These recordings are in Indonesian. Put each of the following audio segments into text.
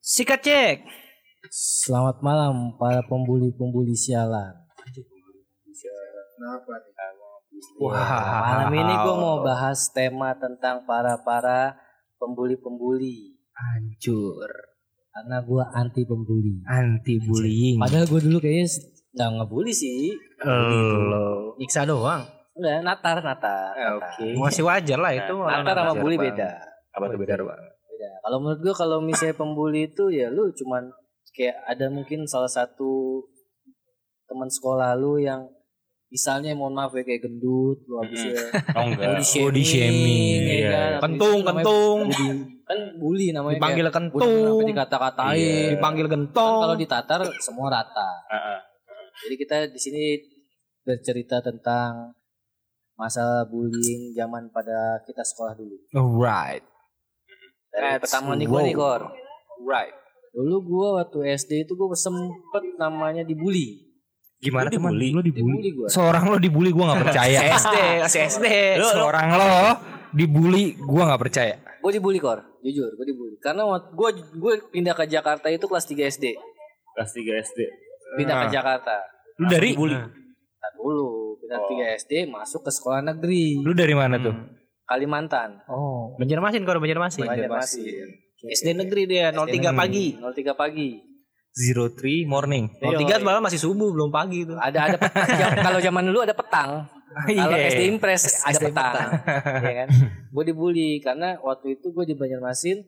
Sikat cek. Selamat malam para pembuli-pembuli sialan. Kenapa nih? Wah, Malam ini gue mau bahas tema tentang para-para pembuli-pembuli. hancur. Karena gue anti pembuli. Anti bullying. Padahal gue dulu kayaknya s- nggak ngebully sih. Lo. Nyiksa doang. Enggak, natar, natar. Eh, natar. oke. Masih wajar lah itu. orang Natar sama wajar bully banget. beda. Apa Oh, iya. tuh beda Oh, banget? Beda. Iya, Kalau menurut gue kalau misalnya pembuli itu ya lu cuman kayak ada mungkin salah satu teman sekolah lu yang misalnya mohon maaf ya kayak gendut lu habis ya Oh enggak. Body shaming, ya iya. kan? Kentung, Habis itu namanya kentung. bully. kan bully namanya kayak- Dipanggil Gua dulu kentung. sampai dikata-katain. Iya. Dipanggil Kan gentong. kalau ditatar semua rata. Heeh. Jadi kita di sini bercerita tentang masalah bullying zaman pada kita sekolah dulu. Alright. Dari That's Eh, pertama nih gua nih Kor. Right. Dulu gua waktu SD itu gua sempet namanya dibully. Gimana teman? Dibully. Dibully gua. Seorang lo dibully gue gak percaya. SD, masih SD. Seorang lo dibully gue gak percaya. Gua dibully Kor, jujur gua dibully. Karena waktu gua gua pindah ke Jakarta itu kelas 3 SD. Kelas 3 SD. Pindah ke Ah. Jakarta. Lu dari Bully. Nah, dulu pindah Oh. 3 SD masuk ke sekolah negeri lu dari mana tuh? Hmm. Kalimantan. Oh. Banjarmasin kalau Banjarmasin. Banjarmasin. SD negeri dia 03 pagi. 03 pagi. Zero three morning. 03 malam masih subuh belum pagi itu. ada ada pet- jam- kalau zaman dulu ada petang kalau Iya. SD Impress ada SD petang, ya kan gue dibully karena waktu itu gue di Banjarmasin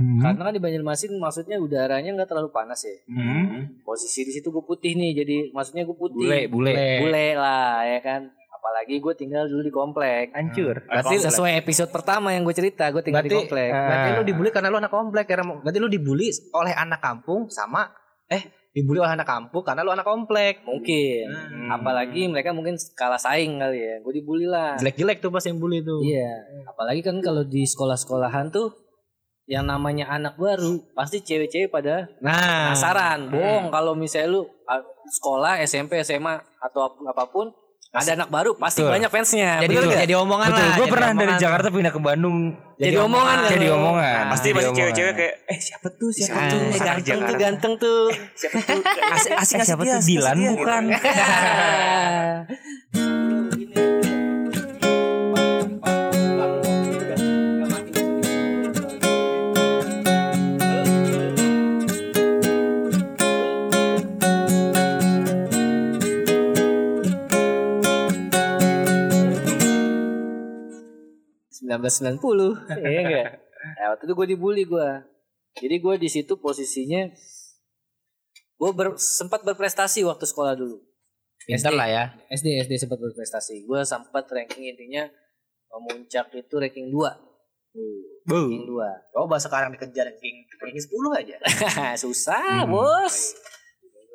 Hmm. karena kan di Banjarmasin maksudnya udaranya nggak terlalu panas ya Hmm. posisi di situ gue putih nih jadi maksudnya gue putih Bule, bule. Bule lah ya kan apalagi gue tinggal dulu di komplek Hancur. berarti sesuai episode pertama yang gue cerita gue tinggal Berarti- di komplek eh, Berarti lu dibully karena lu anak komplek. Karena mau- berarti lu dibully oleh anak kampung sama eh dibully oleh anak kampung karena lu anak komplek. mungkin Hmm. apalagi mereka mungkin kalah saing kali ya gue dibully lah Jelek-jelek tuh pas yang bully tuh. Iya, apalagi kan kalau di sekolah-sekolahan tuh yang namanya anak baru pasti cewek-cewek pada Nah, penasaran. Bohong kalau misalnya lu ah, sekolah SMP SMA atau ap- apapun ada anak baru pasti Betul. banyak fansnya. jadi Bener nggak? jadi omongan Betul, lah. gue jadi pernah dari omongan. Jakarta pindah ke Bandung. Jadi omongan kan Jadi lu? omongan. Ya. Pasti Jadi pasti omongan. cewek-cewek kayak eh siapa tuh siapa Nah, tuh eh, anak ganteng tuh Jakarta. ganteng tuh. Siapa tuh? Asik asik Eh, siapa dia, tuh? asik Dilan dia. bukan. sembilan belas sembilan puluh iya enggak nah, waktu itu gue dibully gue jadi gue di situ posisinya gue ber- sempat berprestasi waktu sekolah dulu Pinter lah ya. SD SD sempat berprestasi gue sempat ranking intinya memuncak itu ranking 2 ranking Coba sekarang Oh, dikejar ranking ranking 10 aja. 2 susah Hmm. bos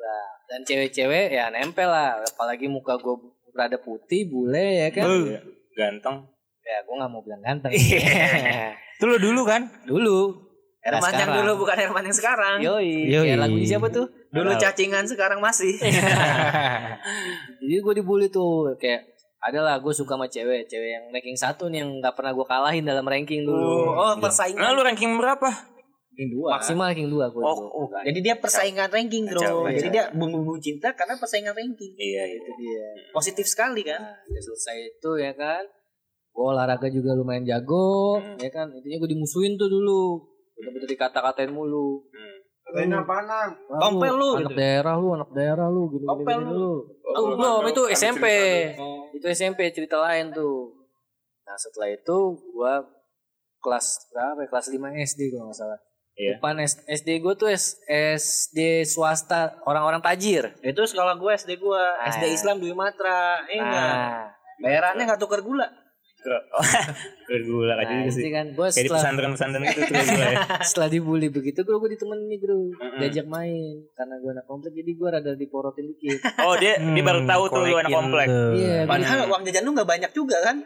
Nah, dan cewek-cewek ya nempel lah apalagi muka gue berada putih bule ya kan Iya. Ganteng. ya gue nggak mau bilang ganteng Iya. Itu lo dulu kan? dulu Herman yang dulu bukan Herman yang sekarang. Yoi, Yoi. Kayak lagunya siapa tuh? Dulu cacingan sekarang masih. Jadi gue dibully tuh kayak adalah gue suka sama cewek, cewek yang ranking satu nih yang nggak pernah gue kalahin dalam ranking dulu. Oh, Nah, persaingan. lu ranking berapa? Ranking 2. Maksimal ranking dua gue. dulu. Oh, oh. Jadi dia persaingan ranking, Bro. Kacau, Jadi kacau. dia bumbu-bumbu cinta karena persaingan ranking. Iya, Itu dia. Positif sekali kan? Nah, udah selesai itu ya kan. Gue olahraga juga lumayan jago, ya kan. Intinya gue dimusuhin tuh dulu. Bener-bener dikata-katain mulu. Katain apaan Nang? Wah, Tompel lu, gitu. Anak daerah lu, anak daerah lu. Gini, gini, Tompel gini lu. lu. Oh, belum, itu SMP. Oh. Itu SMP cerita lain tuh. Nah setelah itu gua kelas berapa ya? Kelas 5 SD kalau nggak salah. Iya. Depan S- SD gue tuh S- SD swasta orang-orang tajir. Itu sekolah gue SD gue, Ah, SD ya. Islam Dwi Matra. Eh enggak. Nah, Bayarannya enggak tukar gula. Bergula nah, aja itu sih. kan gue Kayak di setelah, pesantren-pesantren gitu tuh gula ya. setelah dibully begitu gue gue ditemenin nih bro Mm-mm. diajak main karena gue anak komplek jadi gue rada diporotin dikit Oh, dia dia baru Hmm, tahu tuh lu anak konekin komplek. tuh. iya gua- Padahal uang jajan lu enggak banyak juga kan?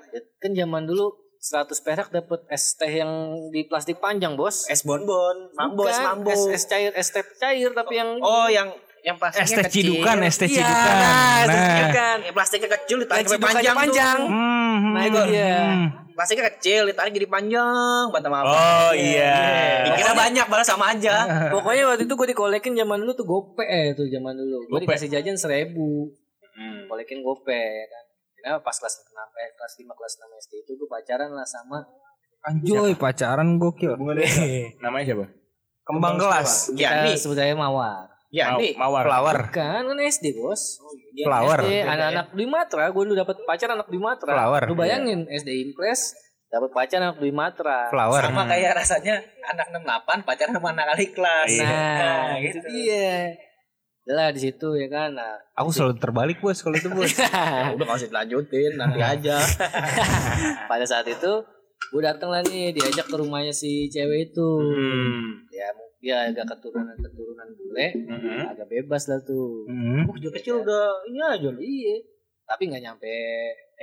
kan zaman dulu 100 perak dapat es teh yang di plastik panjang bos Es bonbon, mambo, es Bukan, mambo. es, es cair es teh cair tapi yang Oh, yang yang plastiknya ST kecil. Cidukan, ST Iya, Cidukan. nah, ST Cidukan. Yang Plastiknya kecil ditarik Lagi sampai panjang, panjang. tuh. Nah, Hmm, hmm, itu dia. hmm. Plastiknya kecil ditarik jadi panjang, bata apa? Oh iya. Dikira banyak padahal sama aja. Pokoknya waktu itu gue dikolekin zaman dulu tuh gope eh, tuh zaman dulu. Gue Gope. dikasih jajan seribu. Hmm. Kolekin gope ya kan. Nah, pas kelas 6 eh, kelas 5 kelas 6 SD itu gue pacaran lah sama Anjoy pacaran gokil. Namanya siapa? Kembang gelas. Ya, kita nih, sebutnya Mawar. ya, Mau- nih. Mawar. Flower. Kan kan SD, Bos. Oh, iya, Dia ya. Flower. SD, Eh, anak-anak di Matra, gue dulu dapat pacar anak di Matra. Flower. iya. Lu bayangin SD Impres dapat pacar anak di Matra. Flower. Hmm. Sama kayak rasanya anak 68 pacaran sama anak kali kelas. Iya. Nah, Nah, gitu gitu. dia. Udah lah di situ ya kan. Nah, Aku selalu terbalik bos kalau itu bos. Ya udah kasih dilanjutin nanti aja. pada saat itu gue dateng lah nih diajak ke rumahnya si cewek itu Hmm. ya mu- dia agak keturunan keturunan bule Mm-mm. agak bebas lah tuh Hmm. Aku juga Nah, kecil udah ini aja lu. iya tapi nggak nyampe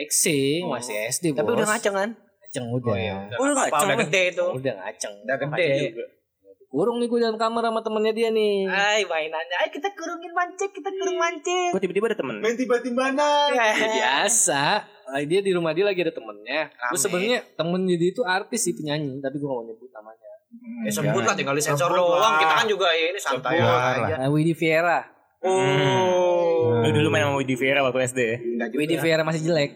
XC Oh. masih SD Tapi bos. udah ngaceng kan? ngaceng udah Oh, iya. Udah ngaceng. Udah gede itu. udah ngaceng Udah gede. kurung nih gue dalam kamar sama temennya dia nih Ay, mainannya. Ay, kita kurungin mancing, kita kurung mancing. Kok tiba-tiba ada temen? Iya. Ya, biasa Nah, dia di rumah dia lagi ada temennya Rame. gue sebenarnya temen jadi itu artis sih penyanyi tapi gue gak mau nyebut namanya Eh, Ya sebut Iya. lah tinggal disensor doang. Kita kan juga ya ini santai Sebut aja. nah, Widi Viera Oh. Lu dulu main sama Widi Vera waktu SD ya? Enggak juga. Widi Viera masih jelek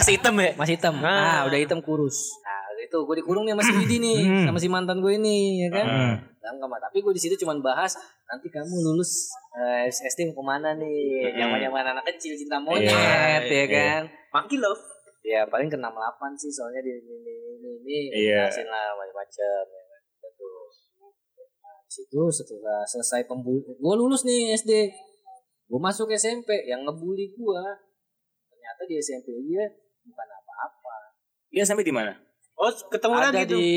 Masih hitam ya? masih hitam Ah. ah, udah hitam kurus nah udah itu gue dikurung nih sama si Widi nih Hmm. sama si mantan gue ini ya kan Hmm. dalam kamar tapi gue di situ cuma bahas nanti kamu lulus eh, SD mau kemana nih Hmm. zaman zaman anak kecil cinta monyet Iya, ya kan Maki love. ya paling ke 68 sih soalnya di ini ini ini, ini Iya. jelasin lah macam-macam ya kan gitu nah, di situ setelah selesai pembuli gue lulus nih SD gue masuk SMP yang ngebully gue ternyata di SMP dia bukan apa-apa Iya sampai di mana? Oh, ketemu ada lagi tuh. di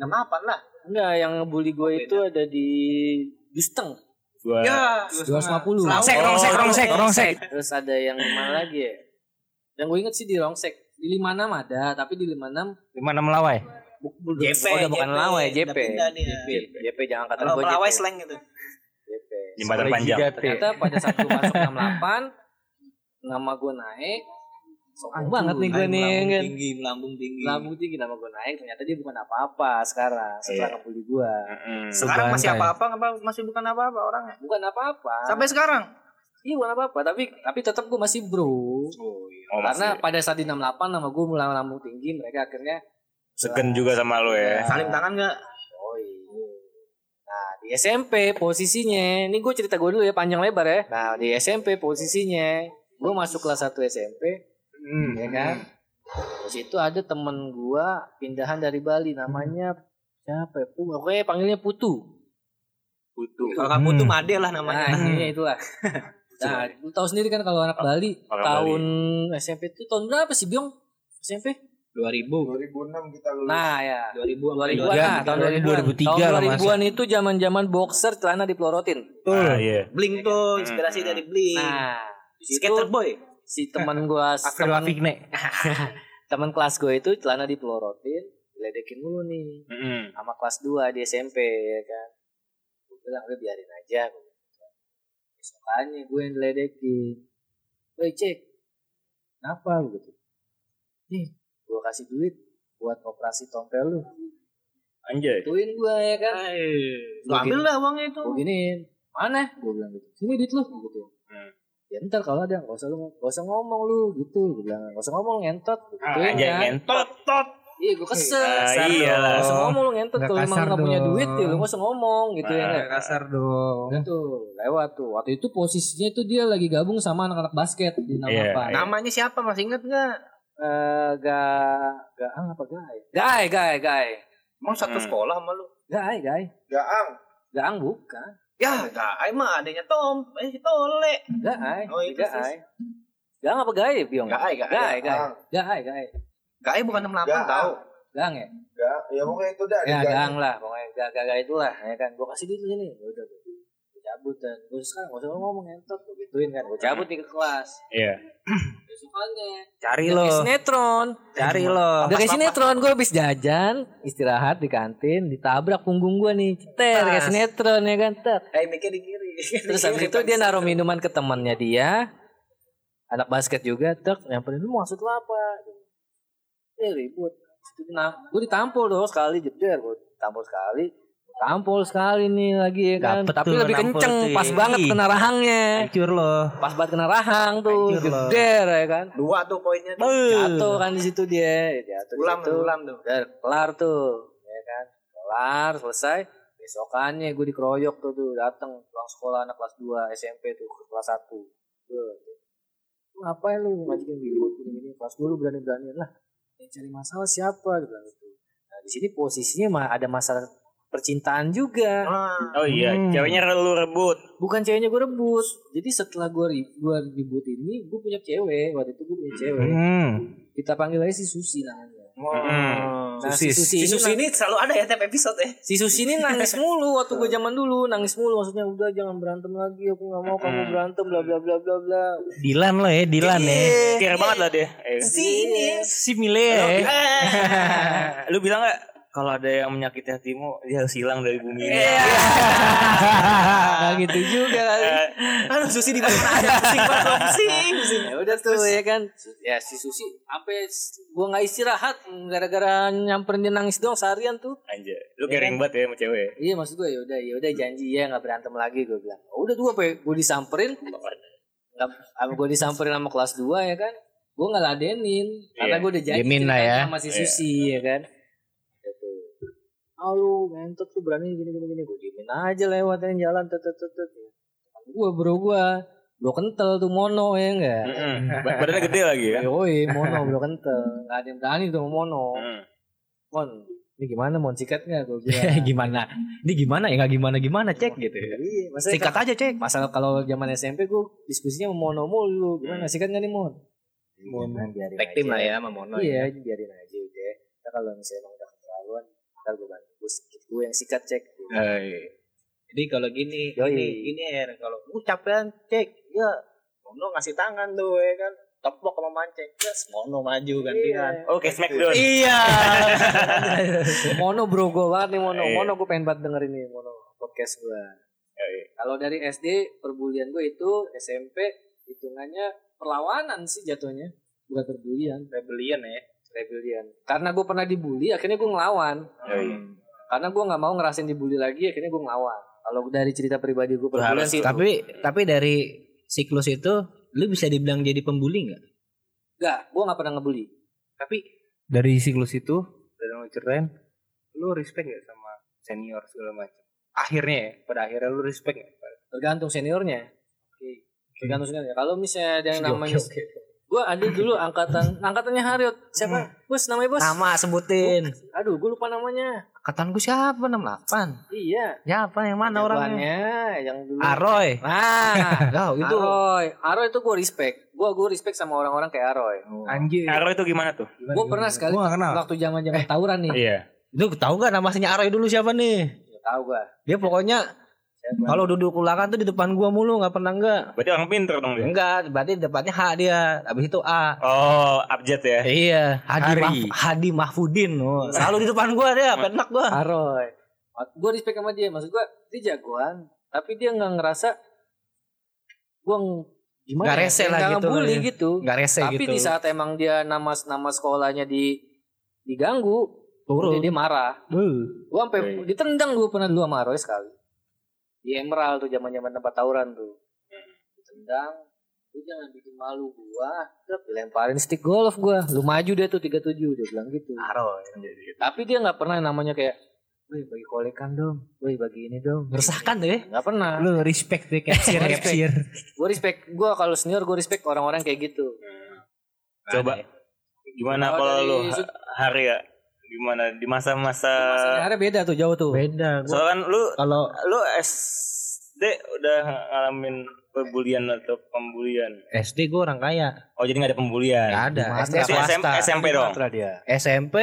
Nama apa lah? enggak yang ngebully gue itu ada di Dusteng Gua Ya, 250. Rongsek, rongsek, Oh, rongsek, rongsek. Rongsek. terus ada yang di mana lagi ya yang gue inget sih di Rongsek di 56 ada tapi di 56 Gimana melawai? JP, oh, udah bukan JP. lawai JP Udah pindah dia. JP JP jangan kata Kalau gue melawai JP. slang gitu. JP jembatan Sekolah panjang. jidat, ya. ternyata pada saat gue masuk 68 nama gue naik sombong banget nih gue Ay, nih melambung kan tinggi, melambung tinggi. lambung tinggi nama gue naik ternyata dia bukan apa-apa sekarang Iya. setelah ngebully gue Mm-mm. Sekarang masih Bantai. apa-apa apa masih bukan apa-apa orangnya. bukan apa-apa Sampai sekarang. iya bukan apa-apa tapi tapi tetap gue masih bro Oh iya. Oh, karena masih pada saat di 68 nama gue mulai lambung tinggi mereka akhirnya segen juga sama lu ya. Salim tangan enggak? oh iya. nah di SMP posisinya ini gue cerita gue dulu ya panjang lebar ya nah di SMP posisinya gue masuk kelas 1 SMP Hmm, ya kan terus itu ada temen gue pindahan dari Bali namanya siapa ya Putu oke panggilnya Putu Butuh. Kalau kamu tuh Hmm. Made lah nah namanya. intinya itulah nah lu tahu sendiri kan kalau anak Bali Orang tahun SMP itu tahun berapa sih Biong SMP 2000. 2006 kita lulus. Nah ya 2000 2000 Iya, nah, tahun 2003 2000-an. lah, Tahun Mas. 2000-an itu zaman-zaman boxer celana dipelorotin. Nah, Ah, iya. Bling tuh inspirasi Hmm. dari Bling. Nah, di situ Skater boy. si teman gua Avril teman, Lavigne. teman kelas gue itu celana dipelorotin, diledekin mulu nih Mm-mm. sama kelas 2 di SMP ya kan. Gue bilang udah biarin aja. gua bilang. Besokannya gue yang diledekin. Gue cek. Kenapa lu gitu? Nih, gua kasih duit buat operasi tompel lu. Anjay. Bantuin gua ya kan. Lu ambil lah uangnya itu. gue giniin mana gue bilang gitu sini duit lu gitu Hmm. ya ntar kalau ada nggak usah lu nggak usah ngomong lu gitu gue bilang nggak usah ngomong ngentot gitu Ah, Anjay ngentot. iya gue kesel Ah, Kesel. iya lah. nggak usah ngomong lu ngentot Nggak kalau emang kasar nggak punya dong. duit ya lu nggak usah ngomong gitu ya Ah, nggak? Kasar dong. Gitu, lewat tuh waktu itu posisinya itu dia lagi gabung sama anak-anak basket di nama Iya, apa iya. Namanya siapa masih inget enggak? Eh, ga ga apa gai gai gai gai Emang satu Hmm. sekolah sama lu? gai gai Gaang. gaang bukan Ya, enggak. Emang adanya Tom, eh si Tole. gai Oh, itu gai gaang apa gai biong Enggak, enggak. gai gai Gaang. Ya, gai gai Enggak, Ah, bukan 68 tahu. Gaang. gaang ya Ga, ya pokoknya itu dah. ya Gaang. gang lah pokoknya gak gak gak itulah ya kan gue kasih duit lu sini ya udah gue cabut dan gue sekarang gak usah ngomong entot gue gituin kan gue cabut nih ke kelas Iya. besokannya Cari udah lo. kayak sinetron Cari lo. udah kayak sinetron gue habis jajan istirahat di kantin ditabrak punggung gue nih ceter kayak Pas. sinetron ya kan tet Eh, mikir di kiri. Terus habis itu dia naruh minuman ke temannya dia. Anak basket juga, tek, nyamperin lu maksud lu apa? Dia ribut. Nah, gue ditampol dong sekali jeder, gue ditampol sekali. Tampol sekali nih lagi ya kan. Dapet Tapi tuh, lebih nampol kenceng, tuh ya. pas banget Ih. kena rahangnya. Hancur loh. Pas banget kena rahang tuh, Hancur loh. jeder ya kan. Dua tuh poinnya. tuh. Jatuh kan di situ dia, jatuh di Ulam, situ. ulam tuh. Udah kelar tuh, ya kan? Kelar, selesai. Besokannya gue dikeroyok tuh tuh, dateng pulang sekolah anak kelas 2 SMP tuh, ke kelas 1. Tuh. Lu ngapain lu majikan biru gini gini kelas dulu berani-berani lah. Yang cari masalah siapa gitu gitu. Nah, di sini posisinya mah ada masalah percintaan juga. Ah, Oh iya, Hmm. ceweknya lu rebut. Bukan ceweknya gue rebus. Jadi setelah gue ri- gue ribut ini, gue punya cewek. Waktu itu gue punya cewek. Hmm. Kita panggil aja si Susi namanya. Nah, Susis. si Susi ini selalu ada ya tiap episode ya. Si Susi ini nangis mulu waktu gue zaman dulu, nangis mulu maksudnya udah jangan berantem lagi, aku nggak mau kamu Hmm. berantem bla bla bla bla bla. Dilan lo ya, Dilan ya. Iya. Kira banget lah dia. Eh, Sini. Si Mile ya. Lu bilang gak kalau ada yang menyakiti hatimu, dia harus hilang dari bumi Iya. ini. Iya. Nah gitu juga kali. Eh, Aduh Susi di mana aja pusing banget pusing. Ya udah tuh ya kan. Ya si Susi sampai gue nggak istirahat gara-gara nyamperin dia nangis doang seharian tuh. Anjay, lu kering banget ya sama cewek. Iya maksud gue ya udah ya udah janji ya nggak berantem lagi gue bilang. Oh, udah dua pe, gue disamperin. Abang gue disamperin sama kelas 2 ya kan. Gue nggak ladenin karena Iya. gue udah janji Diemin lah ya. ceritanya sama si Susi ya kan. Gitu. Ah lu ngentot tuh berani gini gini gini gue diemin aja lewatin jalan tet tet tet. Gue ya. bro gue bro kental tuh mono ya Iya. enggak. Mm-mm. Ba- Badannya gede lagi ya. Yoi mono bro kental nggak ada yang berani tuh sama mono. Mm. Iya. Mon ini gimana mon sikat nggak gue bilang. gimana? Ini gimana ya? Gak gimana gimana cek gitu. Iya, maksudnya Sikat aja cek. masalah kalau zaman SMP gue diskusinya sama Mono mulu gimana sih kan nggak nih Mon Iya. Mono biarin Tag team lah ya sama Mono. iya biarin aja udah kita kalau misalnya emang udah keterlaluan ntar gue bantu gue sikit gue yang sikat cek Iya, Hai. Jadi kalau gini, Yoi. gini, gini ya. Kalau gue capean, cek. Ya, Mono ngasih tangan tuh ya kan. Tepok sama mancing. Ya, Mono maju Iya. kan. gantian. Oke, smackdown. Iya. Mono bro gue banget nih Mono Iya. Mono gue pengen banget dengerin nih Mono podcast gue kalau dari SD perbulian gue itu SMP hitungannya perlawanan sih jatuhnya bukan perbulian Rebellion ya. rebellion karena gue pernah dibully akhirnya gue ngelawan Iya. Iya. karena gue nggak mau ngerasain dibully lagi akhirnya gue ngelawan kalau dari cerita pribadi gue perbulian sih Tapi Tapi dari siklus itu lu bisa dibilang jadi pembuli nggak? Enggak, gue gak pernah ngebully. tapi Dari siklus itu dari lu ceritain, lu respect gak sama senior segala macam? Akhirnya ya, pada akhirnya lu respect gak? Tergantung seniornya. Hmm. Tergantung seniornya. Kalau misalnya ada yang namanya... Oke, oke. Gue ada dulu angkatan... Angkatannya Hariot. Siapa? Bos, namanya bos? Hmm. nama sebutin. Aduh, gue lupa namanya. Angkatan gue siapa? 68. Iya. Siapa yang mana orangnya? Jagoannya yang dulu. Aroy. Nah, Kau itu. Aroy. Aroy itu gue respect. Gue gue respect sama orang-orang kayak Aroy. Iya. anjir. Aro itu gimana tuh? Gue pernah sekali Gua gak kenal. waktu zaman zaman tawuran nih. Iya. Lu tahu nggak nama aslinya Aroy dulu siapa nih? Nggak Tahu gue. Dia pokoknya kalau duduk ulangan tuh di depan gua mulu nggak pernah enggak. Berarti orang pinter dong dia. Enggak, berarti depannya H dia. Habis itu A. Oh, abjad ya. Iya, Hadi, Hari. Mahf- Hadi Mahfudin. Oh, selalu di depan gua dia, penak gua. Aroy. Gue respect sama dia. Maksud gue, dia jagoan. Tapi dia gak ngerasa... Gue gimana? Nggak ya? rese lah Nggak gitu ngebully lah ya. gitu. Enggak rese Tapi gitu. di saat emang dia nama nama sekolahnya di diganggu, Turun. udah dia marah. Gua sampai Oke. ditendang gua pernah dulu sama Roy sekali. Di Emerald tuh zaman-zaman tempat tawuran tuh. Ditendang, lu jangan bikin malu gua. Terus dilemparin stick golf gua. Lu maju deh tuh 37 dia bilang gitu. Aroy. Tapi dia nggak pernah namanya kayak, "Woi, bagi kolekan dong. Woi, bagi ini dong." Meresahkan tuh ya. Nggak pernah. Lu respect deh capsir Respect. Gue respect, gua kalau senior gue respect orang-orang kayak gitu. Nah, Coba iya. Nah, gimana Kalau eh, kalau dari lu sud- hari ya? Gimana di masa-masa Sebenarnya beda tuh jauh tuh. Beda gua. Soalnya kan lu Kalau lu SD udah ngalamin perbulian atau pembulian. SD gua orang kaya. Oh, jadi nggak ada pembulian. Enggak ada. Gimana? SD Itu SM, swasta. SMP dong. dia. SMP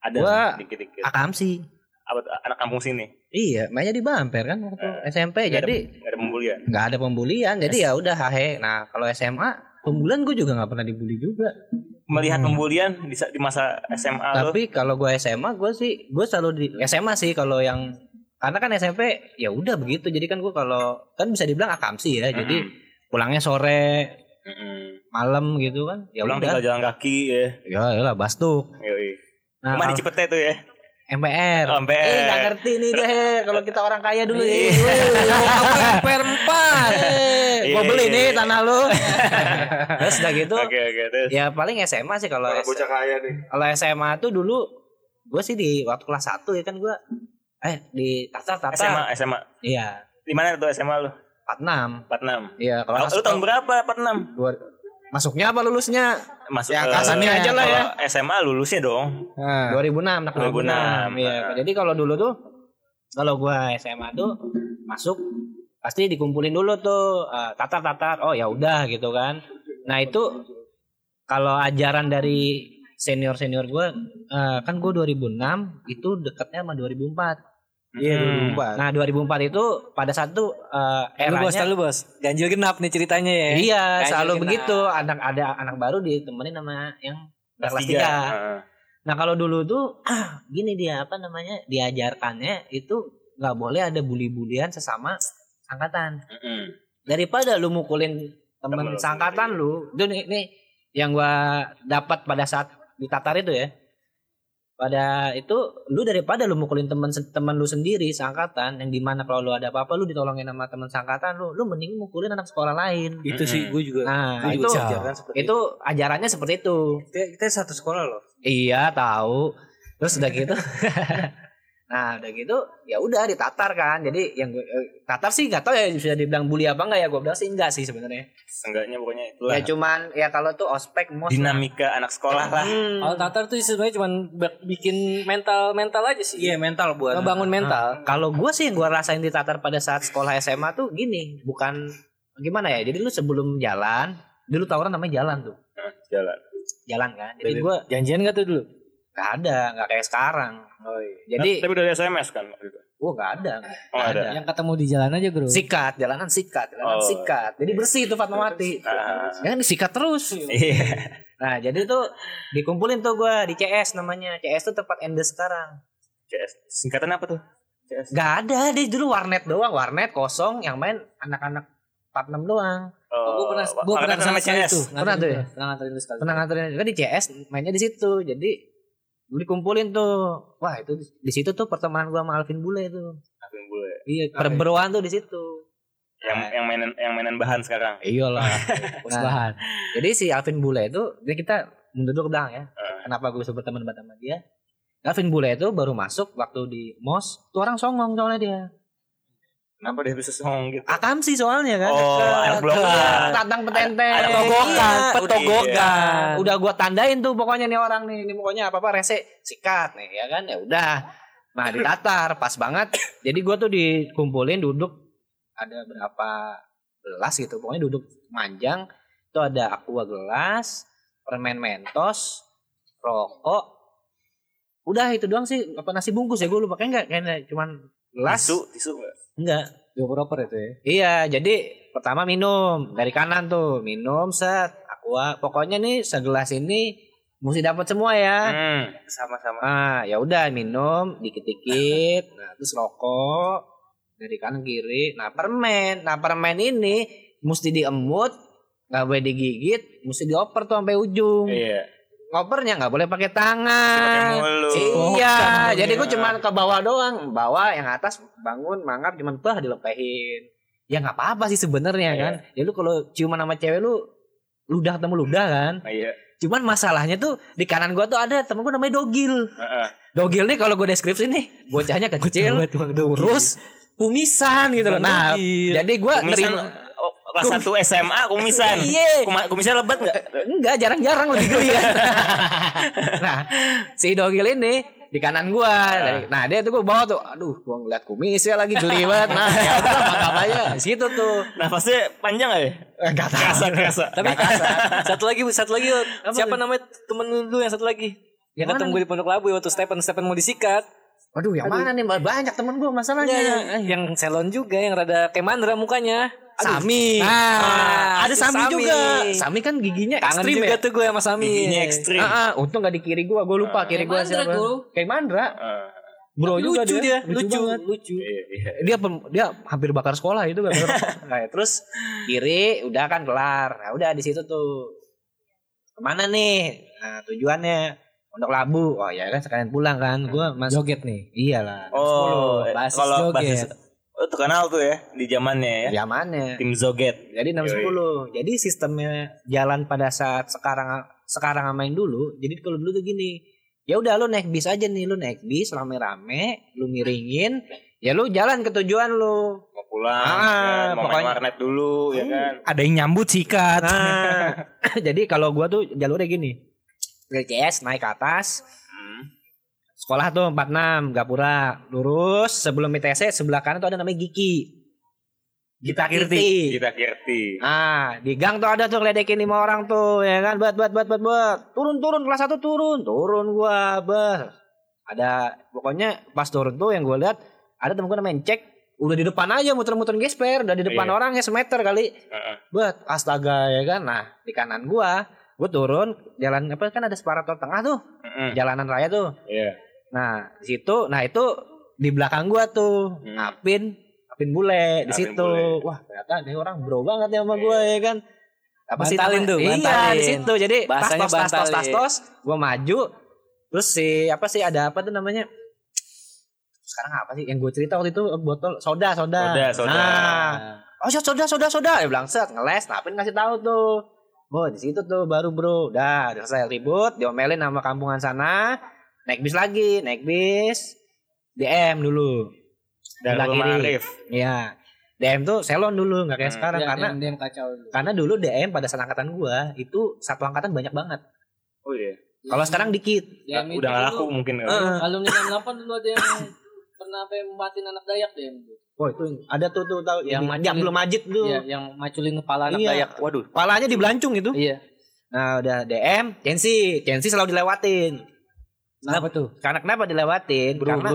Ada Gua- dikit-dikit. Akamsi. Apa tuh, anak kampung sini. Iya, mainnya di Bamper kan waktu SMP. Nggak ada- Jadi nggak ada pembulian. nggak ada pembulian. Jadi ya udah hahe. Nah, kalau SMA pembulian gue juga nggak pernah dibully juga. Melihat Hmm. pembulian di, sa- di masa SMA lu. Tapi kalau gue SMA gue sih gue selalu di SMA sih kalau yang karena kan SMP ya udah begitu jadi kan gue kalau kan bisa dibilang akamsi ya jadi pulangnya sore Hmm. malam gitu kan ya Pulang udah tinggal jalan kaki ya. ya lah bastuk Yoi. nah Rumah di kalau- Cipete tuh ya. MPR Sampai Eh, gak ngerti nih deh kalau kita orang kaya dulu Iya. ya. per empat. Gue beli Iya, iya, nih iya. tanah lu. Terus udah gitu, Oke oke terus. ya paling SMA sih kalau Orang S- bocah kaya nih. kalau SMA tuh dulu gue sih di waktu kelas 1 ya kan gue eh di tata SMA tata SMA. iya Di mana tuh SMA lu? 46. 46 iya kalau Lu masuk- tahun berapa 46? gua- masuknya apa lulusnya Masuk Ya, ke- angkasannya aja lah ya. kalau SMA lulusnya dong. Nah. 2006 anak 2006, 2006 iya nah. jadi kalau dulu tuh kalau gua SMA tuh masuk pasti dikumpulin dulu tuh eh, tatar tatar oh ya udah gitu kan nah itu kalau ajaran dari senior senior gua eh, kan gua 2006 itu dekatnya sama 2004 Iya, Hmm. lupa. nah 2004 itu pada satu eh, Lu bos, eranya lu bos. Ganjil genap nih ceritanya ya. iya Ganjil selalu genap. begitu anak ada anak baru ditemenin sama yang kelas tiga. 3 Heeh. Nah kalau dulu tuh ah, gini dia apa namanya diajarkannya itu nggak boleh ada bully-bulian sesama angkatan. Heeh. Daripada lu mukulin temen Temen lu seangkatan lu, itu nih, nih yang gua dapat pada saat ditatar itu ya. Pada itu lu daripada lu mukulin temen temen lu sendiri seangkatan yang dimana kalau lu ada apa-apa lu ditolongin sama temen seangkatan lu, lu mending mukulin anak sekolah lain. Itu Hmm. sih gue juga. Nah Gua itu juga ajaran seperti itu ajarannya seperti itu. Kita, Eh, kita satu sekolah loh. Iya tahu. Terus udah gitu. nah udah gitu ya udah ditatar kan. Jadi yang gue eh, tatar sih nggak tahu ya bisa dibilang bully apa enggak ya gue bilang sih enggak sih sebenarnya. Seenggaknya pokoknya itulah. Ya cuman ya kalau tuh ospek mos. dinamika anak sekolah lah. Hmm. Kalau Tatar tuh sebenarnya cuma bikin mental-mental aja sih. Iya mental buat. Ngebangun mental. Kalau gue sih yang gue rasain di Tatar pada saat sekolah SMA tuh gini, bukan gimana ya. Jadi lu sebelum jalan, dulu tawuran namanya jalan tuh, Heeh, Jalan. jalan kan. Iya, Jadi gue Janjian gak tuh dulu? nggak ada, nggak kayak sekarang. Jadi, Nah, tapi udah ada SMS kan waktu itu? gue nggak ada. Oh, Nggak ada. Yang ketemu di jalan aja bro. Sikat, jalanan sikat, Oh. jalanan sikat. Jadi bersih itu Fatmawati. Ah. Jangan disikat terus. Iya. Nah, jadi tuh dikumpulin tuh gua di CS namanya. CS tuh tempat Endes sekarang. CS. Singkatan apa tuh? Gak ada deh dulu warnet doang, warnet kosong yang main anak-anak 46 doang. Oh, gue pernah, gue Angkatan pernah sama sama sekali CS. tuh. Pernah tuh ya? Pernah nganterin lu sekali. Pernah nganterin juga di CS mainnya di situ. Jadi gua dikumpulin tuh. Wah, itu di situ tuh pertemanan gua sama Alvin Bule tuh. Angkatan bule. Iya, perberoan tuh di situ. ya. Yang yang mainan yang mainan bahan sekarang. Iyalah. Bos nah, bahan. jadi si Alvin Bule itu jadi kita mundur dulu ke belakang ya. Kenapa gue bisa berteman banget sama dia? Alvin Bule itu baru masuk waktu di MOS, tuh orang songong soalnya dia. Kenapa dia bisa songong gitu? Akam sih soalnya kan. Oh, anak blok. Tatang petenteng. Ada- ada Petogokan, Iya. petogokan. Udah gua tandain tuh pokoknya nih orang nih, ini pokoknya apa-apa rese sikat nih ya kan. Ya udah. Nah, ditatar pas banget. Jadi gua tuh dikumpulin duduk ada berapa gelas gitu. Pokoknya duduk manjang. Itu ada aqua gelas, permen mentos, rokok. Udah itu doang sih apa nasi bungkus ya gue lupa kayaknya enggak kayaknya cuman gelas. Tisu, tisu nggak? Enggak. Dua proper itu ya. Iya, jadi pertama minum dari kanan tuh, minum set aqua. Pokoknya nih segelas ini mesti dapat semua ya. Hmm, sama-sama. Ah, ya udah minum dikit-dikit. Nah, terus rokok dari kanan kiri. Nah, permen. Nah, permen ini mesti diemut, nggak boleh digigit, mesti dioper tuh sampai ujung. Iya. Ngopernya nggak boleh pakai Pakai tangan. mulu. Oh, Iya, jadi gue cuma ke bawah doang, bawah yang atas bangun mangap cuman bah dilepehin. Ya nggak apa-apa sih sebenarnya Iya. kan. Ya lu kalau ciuman sama cewek lu ludah ketemu ludah kan. Nah, Iya. Cuman masalahnya tuh di kanan gua tuh ada temen gua namanya Dogil. Heeh. Dogil nih kalau gua deskripsi nih, bocahnya kecil, Terus. kurus, kumisan gitu loh. Nah, jadi gua Kumisan nerima- oh, kelas 1 SMA kumisan. Iya. Kuma- Kumisan lebat enggak? Enggak, jarang-jarang lebih geli kan. nah, si dogil ini di kanan gua. Dari- Nah, dia tuh gua bawa tuh. Aduh, gua ngeliat kumisnya lagi geli banget. Nah, ya udah mangkap aja. Di situ tuh. Eh, Nafasnya Nah, panjang nggak ya? Enggak tahu. Kerasa, kerasa. Tapi satu lagi, satu lagi. Yud. Siapa namanya temen lu dulu yang satu lagi? Yang ketemu gue di Pondok Labu ya, waktu Stephen Stephen mau disikat. Aduh, yang mana nih? Banyak temen gua masalahnya. Yang, Eh, yang selon juga yang rada kayak mandra mukanya. Sami. Ah, Nah, ada si Sami, Sami. juga. Sami kan giginya Kangen ekstrim juga ya. tuh gue sama Sami. Iya. iya. Giginya ekstrim. Ah, ah, untung gak di kiri gua, gua lupa kiri gua siapa. Kayak Mandra. Heeh. Bro juga lucu dia, lucu, banget. lucu. Iya, iya. Dia pem- dia hampir bakar sekolah itu kan. nah, terus kiri udah kan kelar. Nah, udah di situ tuh. Kemana nih? Nah, tujuannya Pondok Labu. Oh ya kan sekalian pulang kan. Gua Iya masuk Joget nih. iyalah. Oh, 10, basis kalau joget. ya? basis Oh, terkenal tuh ya di zamannya ya. Zamannya. Tim Zoget. Jadi 610. Jadi sistemnya jalan pada saat sekarang sekarang main dulu. Jadi kalau dulu tuh gini. Ya udah lu naik bis aja nih, lu naik bis rame-rame, lu miringin, ya lu jalan ke tujuan lu. Mau pulang, Ah, ya kan? mau main pokoknya- warnet dulu ya kan. Ada yang nyambut sikat. Nah, jadi kalau gua tuh jalurnya gini. Dari CS naik ke atas. Sekolah tuh 46 Gapura. Lurus sebelum ITC sebelah kanan tuh ada namanya Giki. Gita Kirti. Kita Kirti. Ah, di gang tuh ada tuh ngeledekin lima orang tuh ya kan. Bet bet bet bet bet. Turun turun kelas 1 turun. Turun gua, bet. Ada pokoknya pas turun tuh yang gua lihat ada temen gua namanya cek udah di depan aja muter-muter gesper udah di depan Iya. orangnya semeter kali Heeh. buat astaga ya kan nah di kanan gua gua turun jalan apa kan ada separator tengah tuh Heeh. jalanan raya tuh Iya. nah di situ nah itu di belakang gua tuh Hmm. ngapin ngapin bule di Ngapin situ bule. Iya. wah ternyata ini orang bro banget ya sama gua ya kan apa sih Bantalin namanya? tuh, iya bantalin. di situ jadi Bahasanya tas tos tas tos tas bantalin. tos gua maju terus si apa sih ada apa tuh namanya sekarang apa sih yang gue cerita waktu itu botol soda soda Soda, soda. Nah, oh siap, soda soda soda ya bilang set ngeles napin ngasih tahu tuh Bo, di situ tuh baru bro. Dah, udah selesai ribut, diomelin sama kampungan sana. Naik bis lagi, naik bis. DM dulu. Sebelah Darul kiri. Ma'arif. Iya. DM tuh selon dulu, nggak kayak Hmm. sekarang karena dia Iya, kacau dulu. karena dulu DM pada saat angkatan gua itu satu angkatan banyak banget. Oh iya. Kalau sekarang dikit. Dia minta Udah Ya, dulu, nggak Ah. laku mungkin. kan? Kalau minta nelfon dulu ada yang pernah sampai membatin anak Dayak deh. Wah, itu ada tuh tuh tahu Yang yang maculin. belum majid tuh. Iya, yang maculin kepala anak Iya. Dayak. Waduh. Palanya dibelancung itu. Iya. Nah, udah DM, Chensi, Chensi selalu dilewatin. Kenapa tuh? Karena kenapa dilewatin? karena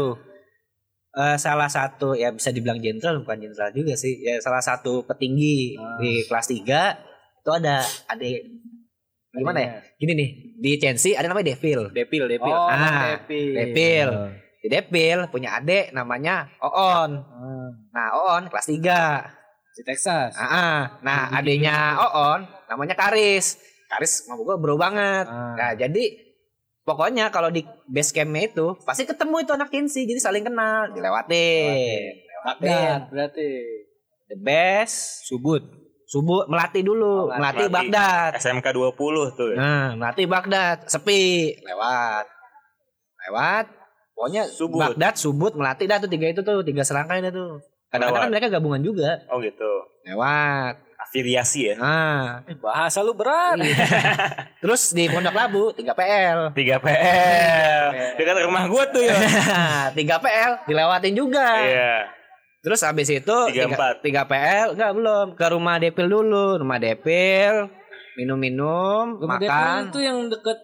eh, salah satu ya bisa dibilang jenderal bukan jenderal juga sih. Ya salah satu petinggi di kelas 3 itu ada ada gimana ya? Gini nih, di Chensi ada namanya Devil. Depil, depil. Iya. Oh, Ah, Depi. Devil. Di Devil punya adik namanya Oon. Nah, Oon kelas 3. Ah. Di Texas. Ah, ah. nah adiknya Oon namanya Karis. Karis sama gue bro banget. Ah. Nah jadi pokoknya kalau di base campnya itu pasti ketemu itu anak Kinsi jadi saling kenal dilewatin. Dilewatin. Bagdad berarti. The best. Subut. Subut melati Oh, dulu, melati Melati. Bagdad. SMK 20 tuh. ya. Nah, melati Bagdad sepi lewat. Lewat. Pokoknya Subut. Bagdad, Subut, melati dah tuh tiga itu tuh, tiga serangkaian itu. Lewat. Kadang-kadang mereka gabungan juga. Oh gitu. Lewat. Afiliasi ya. Nah, Bahasa lu berat. Terus di Pondok Labu 3 PL. 3 PL. Dekat rumah gua tuh ya. 3 PL dilewatin juga. Iya. Terus habis itu Tiga empat. 3 PL enggak belum ke rumah Depil dulu, rumah Depil minum-minum, Rumah makan. Depi itu yang deket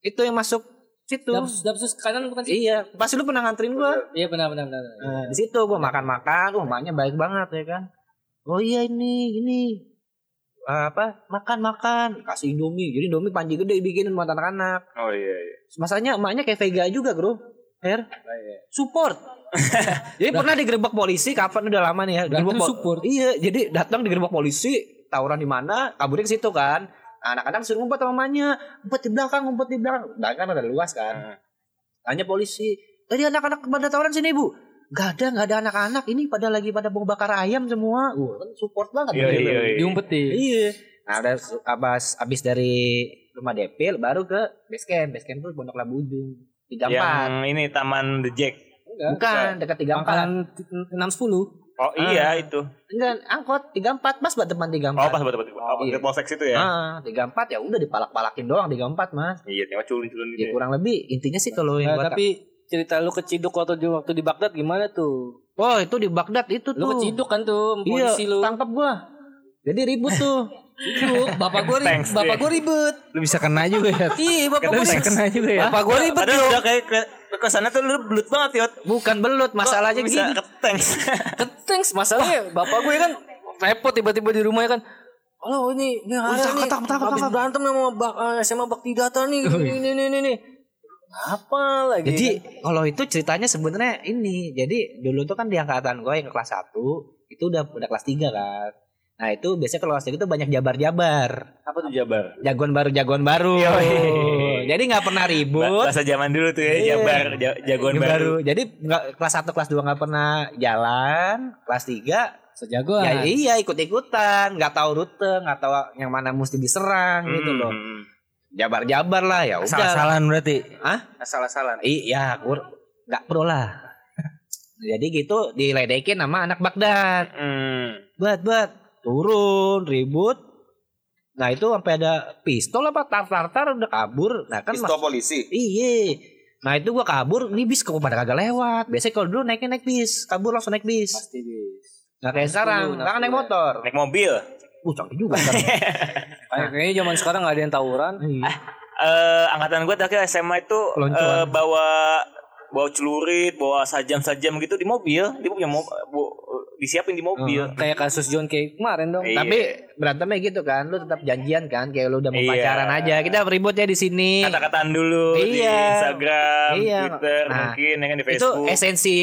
Itu yang masuk situ. dapsus, dapsus kanan bukan sih? Iya, pasti lu pernah nganterin gua. Iya benar benar benar. benar. Nah, di situ gua makan-makan, wah emaknya baik banget ya kan. Oh iya ini, ini. apa makan makan kasih indomie jadi indomie panji gede bikinin buat anak-anak Oh iya iya. masanya emaknya kayak vega juga bro Her support jadi pernah digerebek polisi kapan udah lama nih ya Berarti digerebek lu pol- support. iya jadi datang digerebek polisi tawuran di mana kaburnya ke situ kan anak-anak suruh ngumpet sama mamanya ngumpet di belakang ngumpet di belakang belakang kan ada luas kan tanya polisi tadi anak-anak pada tawuran sini bu Gak ada, gak ada anak-anak ini pada lagi pada mau bakar ayam semua. Wah, kan support banget. Iya Gitu. iya. iya. Diumpetin. Iya. Nah, udah su- abas abis dari rumah Depil baru ke base camp. Base camp tuh Pondok Labu ujung. Tiga empat. Yang ini Taman The Jack. Bukan, dekat tiga empat. Pangkalan 610. Oh iya itu. Enggak, angkot tiga empat pas buat depan tiga Oh empat. pas betul betul. Oh, di iya. Polsek situ ya. Ah, tiga empat ya udah dipalak-palakin doang tiga empat mas. Iya, cuma culun-culun Ya gitu. kurang lebih intinya sih kalau yang Nah, gua tapi cerita lu keciduk waktu di waktu di Baghdad gimana tuh? tak- oh itu di Baghdad itu Lu tuh. keciduk kan tuh sama Iya, polisi lu. tangkap gua. Jadi ribut tuh. Ciduk, bapak gua ribut, Thanks, bapak deh. gua ribut. Lu bisa kena juga ya. Iya, bapak Lu gua bisa ribut. kena juga ya. Bapak Iya, gua ribut. Padahal udah kayak ke, ke sana tuh lu belut banget, Yot. Bukan belut masalahnya bisa gini. ketengs. Ketengs masalahnya bapak gue kan repot tiba-tiba di rumahnya kan Halo ini ini hari tangkap, ini tangkap, tangkap, habis tangkap." Oh, iya. berantem sama bak, eh, SMA Bakti Data nih ini ini ini nih. Apa lagi? Jadi Iya. kalau itu ceritanya sebenarnya ini. Jadi dulu tuh kan di angkatan gue yang kelas 1 itu udah udah kelas 3 kan. Nah itu biasanya kalau kelas 3 itu banyak jabar-jabar. apa tuh Jabar? Jagoan baru jagoan baru. Jadi nggak pernah ribut. Bahasa zaman dulu tuh Iya. ya, jabar, ja- jagoan Jagoan baru. Jadi nggak kelas 1 kelas 2 nggak pernah jalan, kelas 3 Sejagoan. ya iya ikut-ikutan, nggak tahu rute, nggak tahu yang mana mesti diserang gitu loh. Mm. Jabar-jabar lah ya udah. Salah-salahan berarti. Asal-asalan. Iya, gue nggak pro lah. Jadi gitu diledekin sama anak Baghdad. Hmm. Buat buat turun ribut. Nah itu sampai ada pistol apa tar-tar-tar udah kabur. Nah kan Pistol polisi. Iya. Nah itu gua kabur, ini bis kok pada kagak lewat. Biasanya kalau dulu naiknya naik bis, kabur langsung naik bis. Pasti Iya, bis. Gak kayak sekarang, sekarang naik motor. Naik mobil. Uh canggih juga. Iya. sekarang. Kayak- Kayaknya zaman sekarang nggak ada yang tawuran. Eh, angkatan gue terakhir SMA itu eh, bawa bawa celurit, bawa sajam-sajam gitu di mobil. Dia punya mo- bu- disiapin di mobil. Kayak kasus John Kay kemarin dong. Iya. Tapi berantemnya gitu kan, lu tetap janjian kan, kayak lu udah mau Iya. pacaran aja. Kita ribut ya di sini. kata-kataan dulu di Iya. Instagram, Iya. Twitter, Nah, mungkin ya kan di Itu Facebook. esensi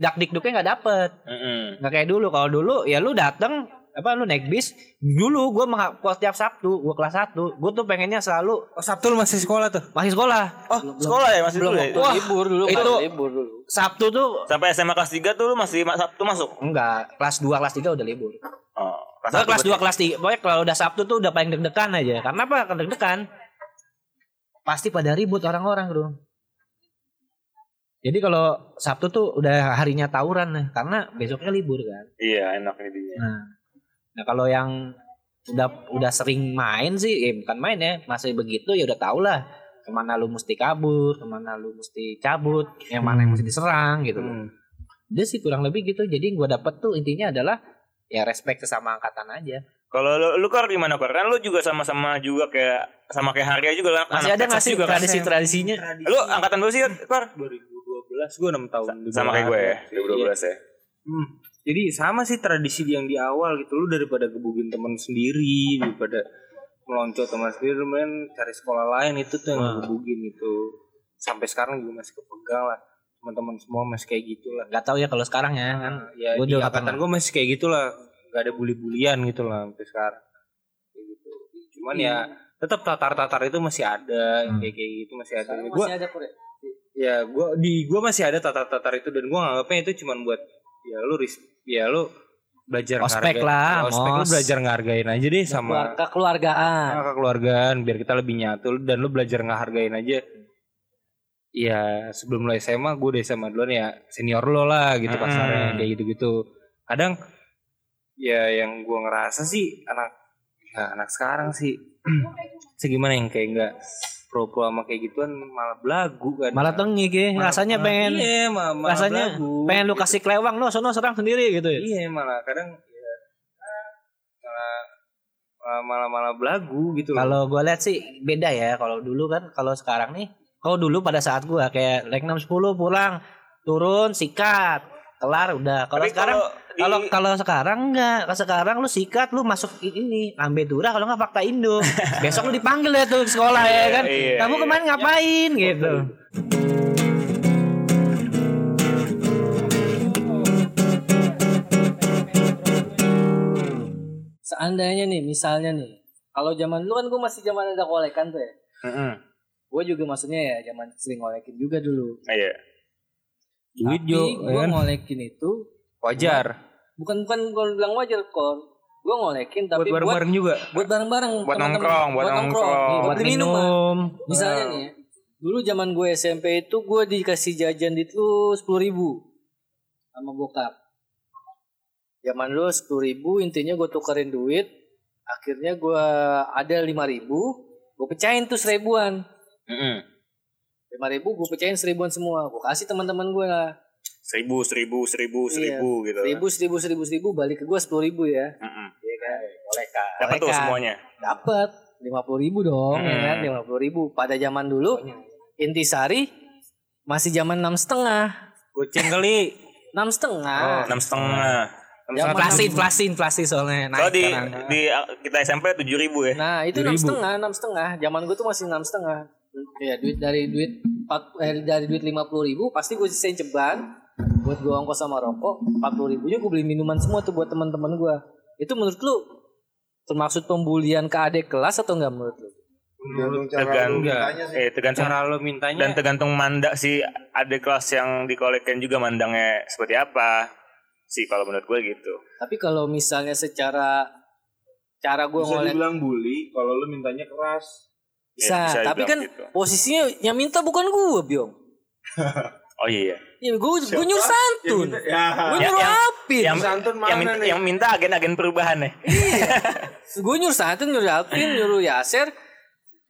dakdikduknya nggak dapet. Mm-mm. Nggak kayak dulu. Kalau dulu ya lu dateng apa lu naik bis dulu gue mengakui tiap Sabtu gue kelas 1 gue tuh pengennya selalu Oh, Sabtu lu masih sekolah tuh. masih sekolah Oh, sekolah ya masih dulu ya? Waktu libur dulu kan, itu libur dulu. Sabtu tuh Sampai SMA kelas 3 tuh lu masih ma- Sabtu masuk. Enggak, kelas 2 kelas 3 udah libur. Oh, Gua kelas 2 kelas 3, pokoknya kalau udah Sabtu tuh udah paling deg-degan aja. Karena apa? Karena deg-degan. Pasti pada ribut orang-orang, Bro. Jadi kalau Sabtu tuh udah harinya tawuran nih, karena besoknya libur kan. Iya, enak intinya. Nah, kalau yang udah udah sering main sih, eh, bukan main ya, masih begitu ya udah tau lah kemana lu mesti kabur, kemana lu mesti cabut, yang mana yang mesti diserang gitu. Hmm. loh. Dia sih kurang lebih gitu. Jadi gua dapet tuh intinya adalah ya respect sesama angkatan aja. Kalau lu, lu kor gimana kor? Kan lu juga sama-sama juga kayak sama kayak Harya juga kan? Anak Masih ada Texas nggak sih juga kan? tradisi-tradisinya? Lu angkatan berapa sih kor? 2012 gue 6 tahun. Sama kayak gue ya. 2012 ya. Hmm. Jadi sama sih tradisi yang di awal gitu lu daripada gebukin teman sendiri daripada melonco teman sendiri lu main cari sekolah lain itu tuh yang gebukin itu sampai sekarang juga Kan masih kepegang lah teman-teman semua masih kayak gitulah Gak tau ya kalau sekarang ya kan. ya Gua di udah nggak angkatan pernah. gue masih kayak gitulah nggak ada bully-bulian gitu lah sampai sekarang Kayak gitu. cuman ya Hmm. tetap tatar-tatar itu masih ada yang kayak kayak gitu masih ada Sekarang Gua- masih ada Pur, ya? ya gua di gua masih ada tatar-tatar itu dan gua nganggapnya itu cuman buat ya lu ris ya lu belajar Ospek ngehargain- lah, ya, ospek lu Mos. belajar ngehargain aja deh sama Ah. Keluar- kekeluargaan. Iya. sama kekeluargaan biar kita lebih nyatu dan lu belajar ngehargain aja ya sebelum lu SMA gue udah SMA duluan ya senior lo lah gitu Mm-mm. kasarnya kayak gitu-gitu kadang ya yang gua ngerasa sih anak ya anak sekarang sih segimana yang kayak nggak pro pro sama kayak gituan malah belagu kan Malah tengik ya. Malah- Rasanya pengen iya, ma- malah rasanya belagu. gitu. pengen lu kasih kelewang lu sono serang sendiri gitu ya. iya malah kadang ya, malah, malah malah malah belagu gitu loh. Kalau gua lihat sih beda ya kalau dulu kan kalau sekarang nih. Kalau dulu pada saat gua kayak like 610 pulang turun sikat kelar udah. Kalau Tapi sekarang di- kalau kalau sekarang enggak, kalau sekarang lu sikat lu masuk ini ambe dura kalau nggak fakta Indo. Besok lu dipanggil ya tuh ke sekolah ya kan. Iya, Kamu iya. kemarin ngapain gitu. Seandainya nih, misalnya nih, kalau zaman dulu kan gue masih zaman ada kolekan tuh ya. Mm-mm. Gue juga maksudnya ya zaman sering ngolekin juga dulu. Iya. Duit, Tapi Jo, gue kan? ngolekin itu wajar bukan bukan gue bilang wajar kon. Gue ngolekin buat tapi buat bareng-bareng juga buat bareng-bareng Buat teman-teman. nongkrong, buat nongkrong. Iya, buat Buat minum. Mas. minum Misalnya nih, ya, dulu zaman gue SMP itu gue dikasih jajan itu sepuluh ribu sama bokap. Zaman lu sepuluh ribu, intinya gue tukerin duit. Akhirnya gue ada lima ribu, gue pecahin tuh seribuan. Mm-mm. Lima ribu gue pecahin seribuan semua. Gue kasih teman-teman gue lah. Seribu, seribu, seribu, seribu gitu. Seribu, seribu, seribu, seribu, balik ke gue sepuluh ribu ya. Mm-mm. Oleh kan. Dapat tuh semuanya. Dapat lima puluh ribu dong, ya kan? Hmm. Lima puluh ribu. Pada zaman dulu, intisari masih zaman enam setengah. goceng kali Enam Oh, setengah. Oh, Enam setengah. Zaman Inflasi, inflasi, inflasi soalnya naik Kalau di, sekarang. di uh, kita SMP tujuh ribu ya. Nah itu enam setengah, enam setengah. Zaman gue tuh masih enam setengah. Ya Iya, duit dari duit empat- eh, dari duit lima puluh ribu pasti gue sisain ceban buat gue ongkos sama rokok empat puluh ribunya gue beli minuman semua tuh buat teman-teman gue itu menurut lu termasuk pembulian ke adik kelas atau enggak menurut lu? Tergantung cara lu tergantung mintanya sih. eh tergantung cara lo dan mintanya tergantung manda si ada kelas yang dikolekin juga mandangnya seperti apa sih kalau menurut gue gitu Tapi kalau misalnya secara cara gue Bisa ngoleh dibilang bully kalau lu mintanya keras. bisa, Ya, bisa tapi dibilang kan gitu. posisinya yang minta bukan gue, Biong. oh iya iya. Ya gue Siapa? gue nyuruh Ya, santun. minta- ya. Gue Ya, nyuruh yang- Alvin. yang, Santun mana yang minta, nih? yang minta agen-agen perubahan ya Gue nyuruh santun, nyuruh Alvin, nyuruh Yaser.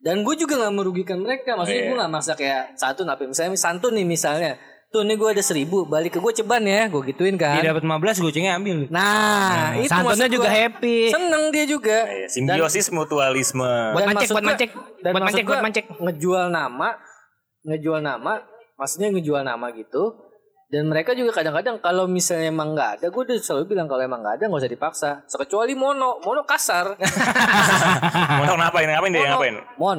Dan gue juga gak merugikan mereka. Maksudnya Iya. gue gak maksa kayak santun apa. Misalnya santun nih misalnya. Tuh nih gue ada seribu. Balik ke gue ceban ya. Gue gituin dia kan. dapat 15 gocengnya ambil Nah, itu Iya. santunnya maksud juga gua. happy Seneng dia juga. Iya, simbiosis mutualisme buat Dan mancek maksud buat gua- mancek dan buat maksud mancek buat gua- mancek ngejual nama, ngejual nama, maksudnya ngejual nama gitu. Dan mereka juga kadang-kadang kalau misalnya emang nggak ada, gue udah selalu bilang kalau emang nggak ada nggak usah dipaksa. Kecuali Mono, Mono kasar. mau tau ngapain ngapain dia Mono. ngapain Mon,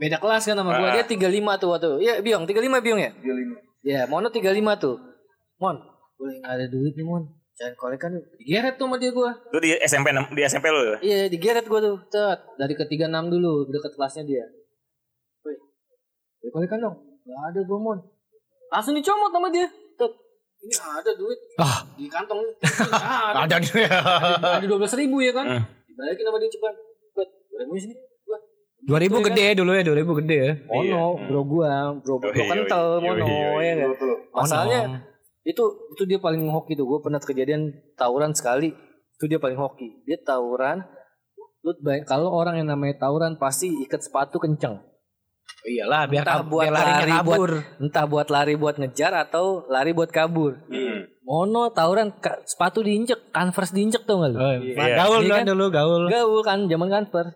beda kelas kan sama gue, dia 35 tuh waktu. Iya, Biong, 35 Biong ya? 35. Iya, Mono 35 tuh. Mon, gue nggak ada duit nih Mon. Jangan kolekan lu. Digeret tuh sama dia gue. lu di SMP enam- di SMP lu ya? Iya, digeret gue tuh. Cet, dari ketiga enam dulu deket kelasnya dia. Woi, Ya, balik balikan dong. Gak ada gue mon. Langsung dicomot sama dia. Cet, ini ada duit Ah. di kantong. Ah, ada ada dia ada dua belas ribu ya kan? Hmm. Dibalikin sama dia cepat. Cet, dua kan? ribu sini. Gua. 2000 gede dulu ya 2000 gede Iya. ya Mono, bro gua, bro, bro Yoi, yoi, kental, yoi, mono, yoi. ya kan? Lu tuh. Masalahnya itu itu dia paling hoki tuh gue pernah kejadian tawuran sekali itu dia paling hoki dia tawuran lu bay- kalau orang yang namanya tawuran pasti ikat sepatu kenceng iyalah biar Entah kab- buat biar larinya lari, kabur entah buat lari buat ngejar atau lari buat kabur Hmm. mono tawuran ka- sepatu diinjek converse diinjek tau gak lu Oh, Iya. nah, gaul Iya dong kan? dulu gaul gaul kan zaman converse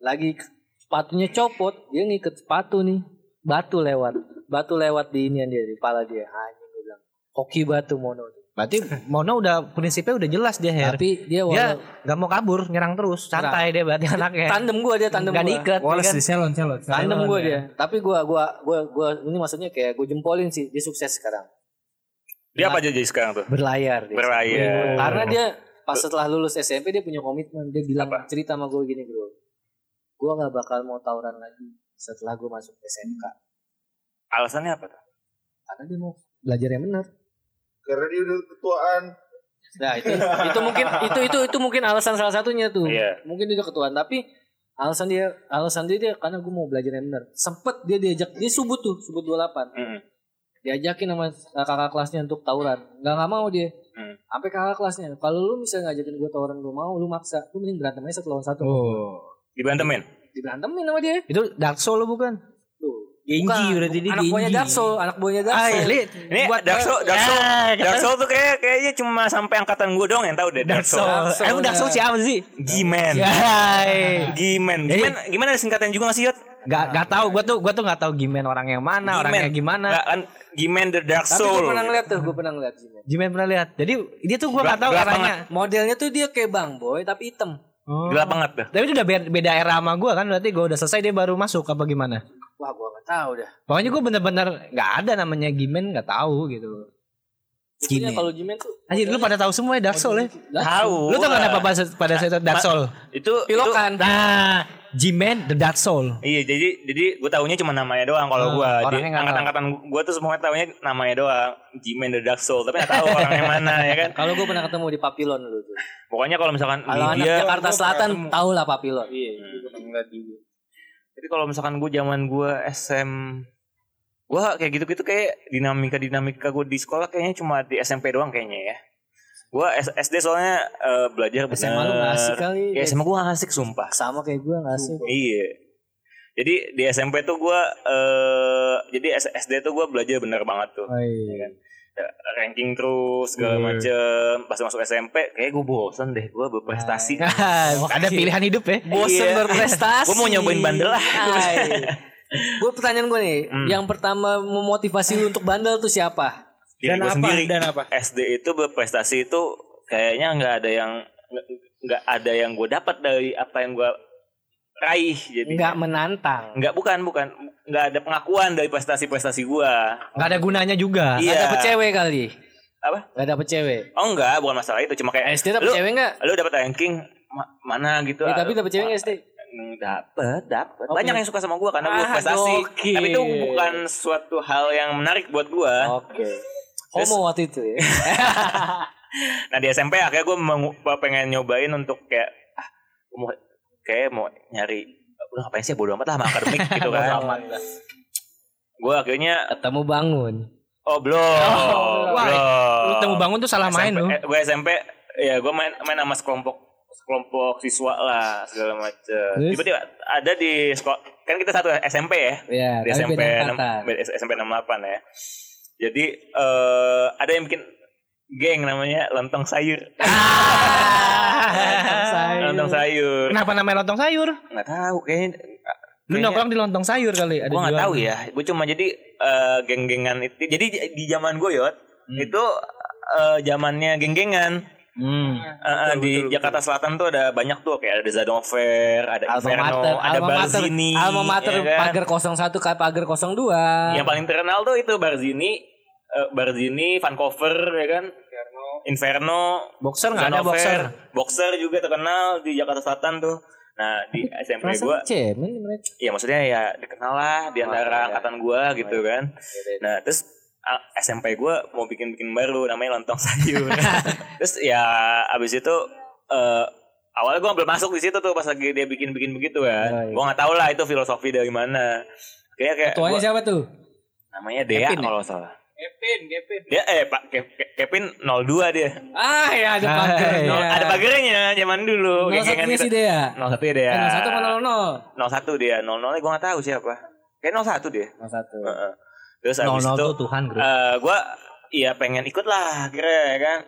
lagi k- sepatunya copot dia ngikat sepatu nih batu lewat batu lewat di inian dia di kepala dia anjing gue bilang hoki batu mono berarti Mono udah prinsipnya udah jelas dia Her tapi dia dia walau, nggak mau kabur nyerang terus santai dia berarti anaknya tandem gue dia tandem nggak gua. diikat ya Wales kan? di salon salon. Tandem gue dia. Tapi gue gua gua gua ini maksudnya kayak gue jempolin sih dia sukses sekarang. dia apa aja jadi sekarang tuh Berlayar dia. berlayar Karena dia pas setelah lulus SMP dia punya komitmen dia bilang cerita sama gue gini bro. Gue nggak bakal mau tawuran lagi setelah gue masuk SMK alasannya apa tuh karena dia mau belajar yang benar. Karena dia udah ketuaan. Nah itu itu mungkin itu itu itu mungkin alasan salah satunya tuh. Iya. Mungkin dia udah ketuaan tapi alasan dia alasan dia, dia karena gue mau belajar yang benar. Sempet dia diajak dia subut tuh subut 28 Hmm. diajakin sama kakak kelasnya untuk tawuran nggak nggak mau dia Hmm. sampai kakak kelasnya kalau lu bisa ngajakin gue tawuran gue mau lu maksa lu mending berantem aja satu lawan satu Oh. dibantemin diberantemin sama dia itu Dark Soul lo bukan tuh Genji Bukan. berarti dia anak buahnya Dark Soul anak buahnya Dark Ah, Soul li, ini buat Dark Soul Dark Soul Ah, Dark Soul tuh kayak kayaknya cemsampai angkatan gue dong yang tahu deh Dark Soul. Ya. Dark Soul, Iya. Emang Dark Soul ya. siapa sih? Gimen. Yai. Gimen. Gimen gimana ada singkatan juga gak sih, Yot? Gak gak tahu gua tuh gua tuh gak tahu gimen orang yang mana, orangnya gimana. Nggak kan Gimen the Dark tapi gue Soul. pernah ngeliat tuh gue pernah ngeliat sih men. Jimen pernah lihat. Jadi dia tuh gua Gelap- nggak tahu gelap eranya. modelnya tuh dia kayak bang boy tapi hitam Oh. Gelap banget dah. Tapi itu udah be- beda era sama gua kan berarti gua udah selesai dia baru masuk apa gimana? wah gue nggak tahu dah Pokoknya gua bener-bener nggak ada namanya Gimen nggak tahu gitu. Buktinya Gimen. kalau Jimen tuh Anjir lu pada tahu semua ya Dark Soul ya? Tahu. Lu tau lah. kenapa pada pada saat Oh, itu Dark iya. Ma- Soul? Itu itu kan. pilokan Nah, Jimen the Dark Soul. Iya, jadi jadi gue taunya cuma namanya doang kalau Hmm, gue. Di orangnya nggak tahu. angkat-angkatan gue tuh semuanya taunya namanya doang. Gimen the Dark Soul, tapi gak tahu orangnya mana ya kan. kalau gue pernah ketemu di Papilon dulu tuh Iya, Pokoknya kalau misalkan kalau anak dia Jakarta Selatan tau lah Papilon Iya, Jadi kalau misalkan gue zaman gue SM gue kayak gitu-gitu kayak dinamika-dinamika gue di sekolah kayaknya cuma di SMP doang kayaknya ya. Gue SD soalnya eh, belajar bener. SMA lu nggak asik kali Ya SMA gue asik sumpah. sama kayak gue nggak asik Iya. Jadi di SMP tuh gue eh jadi S- SD tuh gue belajar bener banget tuh. Iya. Hai. Ranking terus Iya. segala macem. Pas masuk SMP kayak gue bosen deh gue berprestasi. Nah, ada pilihan hidup ya. bosen Iya. berprestasi. Gua mau nyobain bandel lah. gue pertanyaan gue nih, Hmm. yang pertama memotivasi lu untuk bandel tuh siapa? Diri Dan gue apa? sendiri. Dan apa? SD itu berprestasi itu kayaknya nggak ada yang nggak- nggak ada yang gue dapat dari apa yang gue raih jadi nggak menantang nggak bukan bukan nggak ada pengakuan dari prestasi-prestasi gua nggak ada gunanya juga nggak Iya. dapet cewek kali Apa? nggak dapet cewek oh enggak bukan masalah itu cuma kayak SD dapet Lu- cewek nggak lu dapat ranking ma- mana gitu Ya, ah, tapi lu- dapet cewek nggak SD Hmm, dapet dapet Oke. banyak yang suka sama gua karena gua Ah, prestasi gokil. Oh. tapi itu bukan suatu hal yang menarik buat gua oke homo waktu itu ya nah di SMP akhirnya gua mengu- pengen nyobain untuk kayak ah, gua mau kayak mau nyari udah ngapain sih bodo amat lah sama akademik gitu kan gua akhirnya ketemu bangun Oh belum. Oh, belum. Lu temu Oh, bangun tuh salah main SMP, lu. eh, gue SMP ya gue main main sama sekelompok sekelompok siswa lah segala macem. Terus? Tiba-tiba ada di sekolah kan kita satu SMP ya ya di tapi SMP beda enam- angkatan. beda- SMP 68 ya. Jadi eh ada yang bikin geng namanya lontong sayur. Lontong sayur. lontong sayur. Kenapa namanya lontong sayur? Nggak tahu kayaknya. Lu kayaknya- nongkrong di lontong sayur kali ada gue nggak jualan. tahu ya gue cuma jadi eh, geng-gengan itu jadi di- di zaman gue yot Hmm. itu eh, zamannya geng-gengan Hmm. Eh, eh, di Jakarta Selatan tuh ada banyak tuh kayak ada Zadover, ada Alma Inferno, mater, ada alma mater, Barzini, alma mater ya kan? Iya, pagar 01 ke pagar 02. yang paling terkenal tuh itu Barzini, eh, Barzini, Vancouver ya kan, Inferno, Kan Boxer nggak ada Zadover, boxer. boxer. juga terkenal di Jakarta Selatan tuh. Nah di SMP Perasaan gue cemen mereka. Iya maksudnya ya dikenal lah di antara angkatan gua gitu kan. Nah terus a- SMP gua mau bikin-bikin baru namanya lontong sayur. terus ya abis itu eh, awalnya gua belum masuk di situ tuh pas lagi dia bikin-bikin begitu Oh, iya. kan. Gua nggak tahu lah itu filosofi dari mana. Kayak kayak Tuanya Eh, gua- siapa tuh? namanya Dea Kevin ya? kalau nggak salah. Kevin, Kevin. Dia eh Pak Ke- Ke- Kevin 02 dia. Ah ya ada Hai. pagarnya. Nol- iya. Ada pagernya zaman dulu. Nol geng-gengan satunya gitu. si Dea. 01 dia. Eh, 01 apa 00? 01 dia. 00 gua nggak tahu siapa. Kayak 01 dia. 01. Heeh. Terus Nol abis nol itu tuh Tuhan bro. eh, gua iya pengen ikut lah akhirnya ya kan.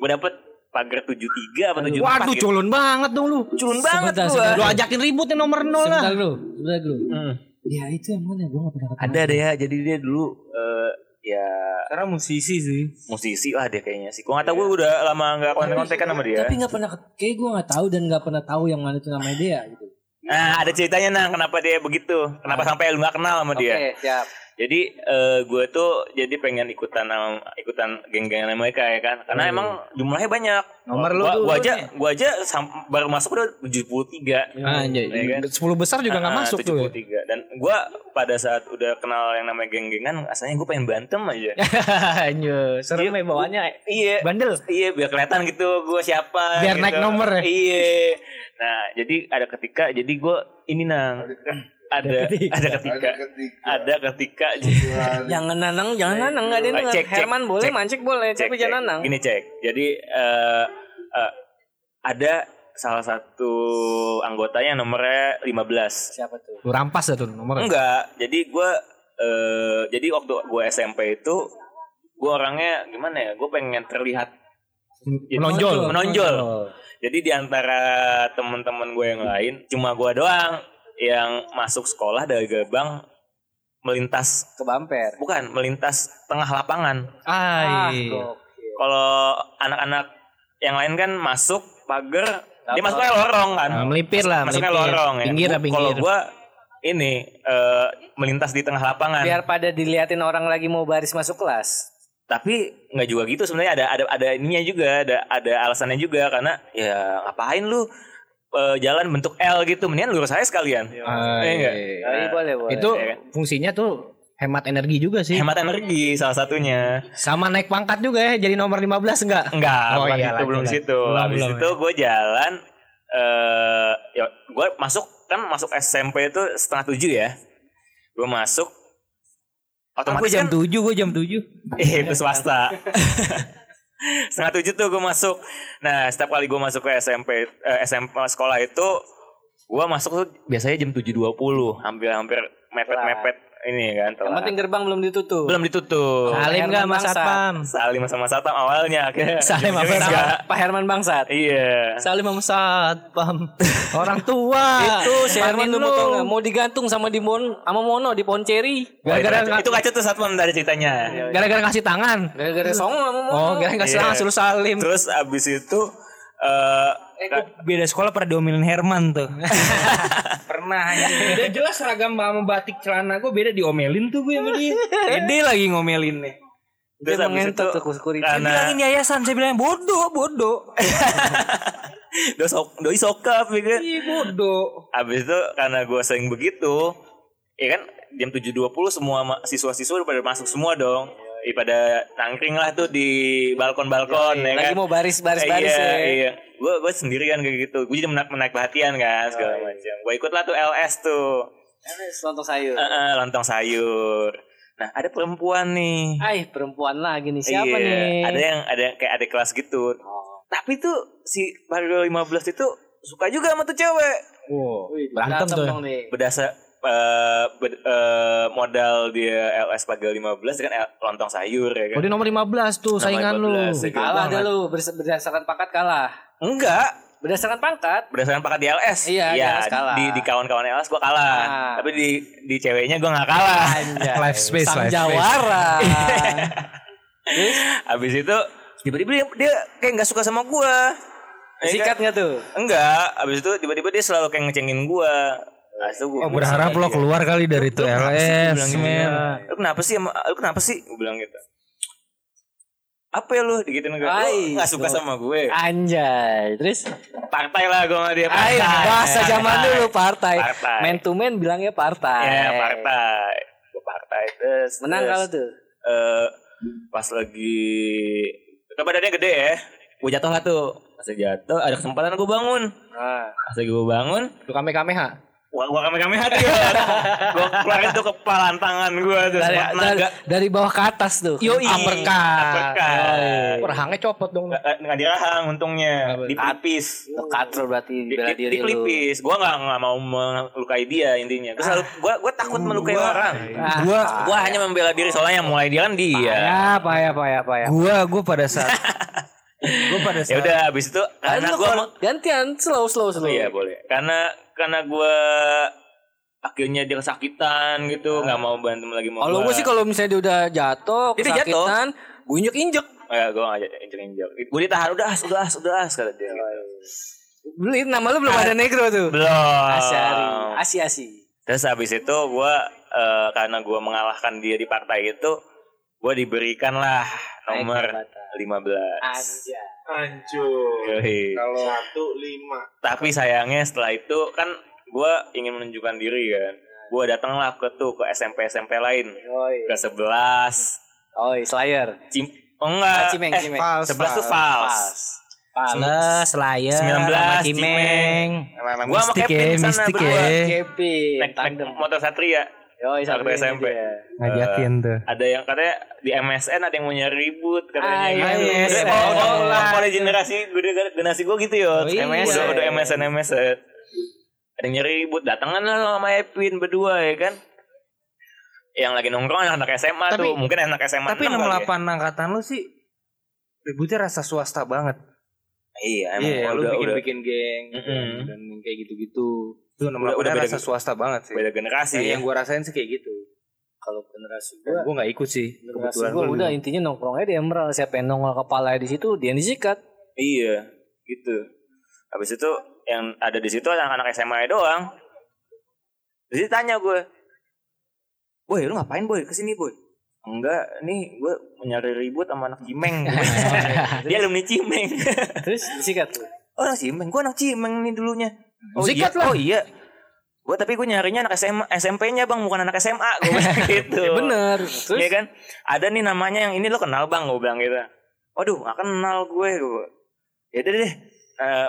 Gua dapet pagar 73 apa 74 Waduh gitu. culun banget dong lu. culun banget Sebentar, gua. Lu ajakin ribut yang nomor nol lah. Sebentar dulu, sebentar dulu. Hmm. Ya itu yang mana gua enggak pernah ketemu. Ada deh ya, jadi dia dulu eh, ya Karena musisi sih. musisi lah dia kayaknya sih. Gua nggak tahu gua udah lama nggak kontak-kontakan sama dia. Tapi nggak pernah ke- kayak gua nggak tahu dan nggak pernah tahu yang mana itu namanya Dea gitu. Nah, ada ceritanya nah kenapa dia begitu. Kenapa sampai lu nggak kenal sama dia. siap. Jadi eh, gue tuh jadi pengen ikutan sama- ikutan geng-gengan mereka ya kan. Karena emang jumlahnya banyak. Nomor lu gua, tuh, gua lu aja gua aja sam- baru masuk udah 73. Anjay, Iya kan? 10 besar juga nggak Ah, masuk tuh. ya? 73. Dan gua pada saat udah kenal yang namanya geng-gengan, asalnya gue pengen bantem aja. Anjir, serem ya bawaannya iya. bandel. Iya, biar kelihatan gitu gue siapa. Biar gitu. naik nomor ya? Iya. Nah, jadi ada ketika jadi gue ini nang ada ada ketika ada ketika Jangan nanang, jangan nanang, enggak ada yang Cek, dengar. cek, Herman boleh, cek. mancik boleh, cek, tapi cek. jangan nanang. Gini cek. Jadi eh, eh, ada salah satu anggotanya nomornya 15. Siapa tuh? Lu rampas dah tuh nomor. Enggak. Jadi gue eh jadi waktu gue SMP itu gue orangnya gimana ya? Gue pengen terlihat jadi- Menonjol. Hmm. Iya, Menonjol. Jadi di antara teman-teman gue yang lain, cuma gue doang yang masuk sekolah dari gerbang melintas Ke bumper. bukan melintas tengah lapangan. Iya. Ai. Kalau anak-anak yang lain kan masuk pagar, dia masuknya lorong kan. Nah, melipir lah, masuknya melipir. lorong ya. Pinggir lah, Gua- Kalau pinggir. gua ini eh, melintas di tengah Iya, lapangan. Biar pada diliatin orang lagi mau baris masuk kelas. Tapi nggak juga gitu sebenarnya ada ada ada ininya juga, ada ada alasannya juga karena ya ngapain lu eh, jalan bentuk L gitu, mendingan lurus aja sekalian. Ai. Iya enggak? Jadi boleh, boleh. Ah, Itu ya kan? fungsinya tuh hemat energi juga sih. Hemat energi salah satunya. Sama naik pangkat juga ya jadi nomor 15 enggak? Enggak, Oh, bukan iya, itu lanjut, belum lanjut. situ. Belum, Habis belum, iya. itu gue jalan eh ya gue masuk kan masuk SMP itu setengah tujuh ya. Gue masuk otomatis Gue jam kan- 7, gue jam 7. Eh, Iya, itu swasta. setengah tujuh tuh gue masuk. Nah, setiap kali gue masuk ke SMP eh, SMP sekolah itu gue masuk tuh biasanya jam 7.20, hampir-hampir mepet-mepet ini kan. Yang telat. penting gerbang belum ditutup. belum ditutup. Herman Salim enggak Mas Bangsa. Satpam? Salim sama Satpam awalnya akhirnya. Salim sama ujung-ujungnya Satpam. enggak. Pak Herman Bangsat. Iya. Salim sama Satpam. Orang tua. Itu si Herman Panin tuh mau lu. tau nggak? Mau digantung sama di mon, sama Mono di Ponceri. Gara-gara Wah, itu, itu kacau tuh Satpam dari ceritanya. Gara-gara ngasih tangan. Gara-gara song sama Mono. Oh, gara-gara ngasih Iya. tangan suruh Salim. Terus abis itu eh Eh, Beda sekolah pada diomelin Herman tuh. pernah anjing. Udah jelas seragam sama batik celana gue beda diomelin tuh gue sama dia. Gede lagi ngomelin nih. Terus Dia habis mengentot itu, Ya tuh security. karena- Nah. Bilangin yayasan saya bilang bodoh, bodoh. Doi sok- doi sokap ya kan. Ih, bodoh. Abis itu karena gue sering begitu, ya kan jam 7.20 semua ma- siswa-siswa udah pada masuk semua dong. Ih, pada nangkring lah tuh di balkon-balkon ya Iya, Lagi kan. mau baris baris baris iya, ya. iya. Gue gue sendirian kayak gitu. Gue jadi menak menarik perhatian kan Iya, segala macam. Gue ikut lah tuh LS tuh. Ini Lontong sayur. Eh, eh, lontong sayur. Nah, ada perempuan nih. Ay perempuan lagi nih siapa Iya, nih? Oh. Ada yang ada yang kayak adik kelas gitu. Tapi tuh si Mario 15 itu suka juga sama tuh cewek. Wih, Berantem tuh ya. dong nih. Berdasar eh, ber- eh, modal dia LS Pagel 15 kan eh, lontong sayur ya kan. Oh, dia nomor 15 tuh Nomor saingan lu. 15, ya kan. Kalah dah lu berdasar- berdasarkan pangkat kalah. Enggak, Berdasarkan pangkat berdasarkan pakat di LS. Iya, di LS kalah. di, di kawan-kawan LS gua kalah. Ah. Tapi di di ceweknya gua nggak kalah. Anjay. Life space, Sang life space. Jawara. Iya. Habis itu tiba-tiba dia, dia kayak nggak suka sama gua. Ya kan? Sikat nggak tuh? Enggak, abis itu tiba-tiba dia selalu kayak ngecengin gua. Abis itu gua Oh, gua berharap lo sama dia. keluar kali dari Lu tuh kenapa sih? Gua bilang LS, gitu. men. Lu kenapa sih? sama- Lu kenapa sih? Gua bilang gitu. Apa ya lu digituin gue? Ai, Lu gak suka tuh. sama gue. Anjay. Terus Partai lah gue sama dia. Ayo bahasa zaman dulu partai. Partai. Man to man bilangnya partai. Ya, partai. Gua partai terus. Menang terus, kalau tuh. eh, pas lagi kan badannya gede ya. Gue jatuh lah tuh. Pas lagi jatuh ada kesempatan gue bangun. Pas lagi gue bangun, Lu kame-kameha. Gua gua kami kami hati gua. gua keluarin tuh kepalan tangan gua tuh Dari, sama dari, naga. dari bawah ke atas tuh. Yoi. Uppercut. Perhangnya copot dong. lu. Nggak- nggak- nggak dirahang untungnya dipelipis Tuh, Katro berarti Di- bela di- diri lu. dipelipis gua nggak nggak mau melukai dia intinya Gua selalu gua gua takut melukai orang Ah, Gua gua hanya membela diri soalnya yang mulai dia kan dia Ya, payah, payah, payah. gua gua pada saat gua pada ya saat udah habis itu karena Ayo, gua kalau- gantian slow slow slow. Oh iya boleh. Karena karena gue akhirnya dia kesakitan gitu, nggak mau berantem lagi Ah. mau. Kalau gue sih kalau misalnya dia udah jatuh, Dia udah jatuh. kesakitan, gue injek injek. ya gue nggak jadi injek injek. Gue ditahan udah as udah as udah as kata dia. Beli nama lu belum ada negro tuh. Belum. Asyari, asi asi. Terus habis itu gue karena gue mengalahkan dia di partai itu, gue diberikan lah nomor 15. Anjay. Hancur. Yoi. Kalau satu lima. Tapi sayangnya setelah itu kan gue ingin menunjukkan diri kan. Gue datanglah ke tuh ke SMP SMP lain Oi, ke 11 oi, Slayer. Cim oh Ah, enggak. Cimeng, eh, Cimeng. fals, 11 tuh Pas. fals. Fals, Slayer, 19, Cimeng. sama Cimeng. Gua sama Mistik Kevin ya, di sana mistik berdua. ya. Kevin, Naik, naik tandem. motor Satria. Yoi, satu Waktu SMP. Ngajakin tuh. Ada yang katanya di MSN ada yang mau nyari ribut Ah, katanya. iya, Ay, Gitu. MSN. Oh, udah udah pada generasi gue generasi gue gitu ya. Oh, iya. Udah, udah MSN MSN. Ada yang nyari ribut, datangan lah lo sama Epin berdua ya kan. Yang lagi nongkrong anak-anak SMA Tapi- tuh, mungkin anak SMA. Tapi enam kali ya. 68 angkatan lu sih ributnya rasa swasta banget. Iya, emang Iya, lu udah, udah, bikin-bikin geng Mm-mm. dan yang kayak Gitu. gitu-gitu. Itu Udah- 68 udah udah, beda rasa gen- swasta banget sih. beda generasi Nah, ya. yang gua rasain sih kayak gitu. Kalau generasi Dan gue, gua nggak ikut sih. generasi Kebetulan gue gua udah intinya nongkrongnya di Emerald. Siapa yang nongol kepala di situ, dia yang disikat. Iya, gitu. Habis itu yang ada di situ anak-anak SMA doang. Jadi tanya gue, boy lu ngapain boy kesini boy? Enggak, nih gue mau nyari ribut sama anak Cimeng. Dia alumni Cimeng. Terus disikat tuh. oh anak Cimeng, gue anak Cimeng nih dulunya. Oh Sikat iya, lah. oh iya. Gue tapi gue nyarinya anak SMA, SMP-nya bang, bukan anak SMA. Gue bilang gitu. Ya bener. Terus Iya kan? Ada nih namanya yang ini lo kenal bang, gue bilang gitu. Waduh, gak kenal gue. gue. Ya udah deh. eh,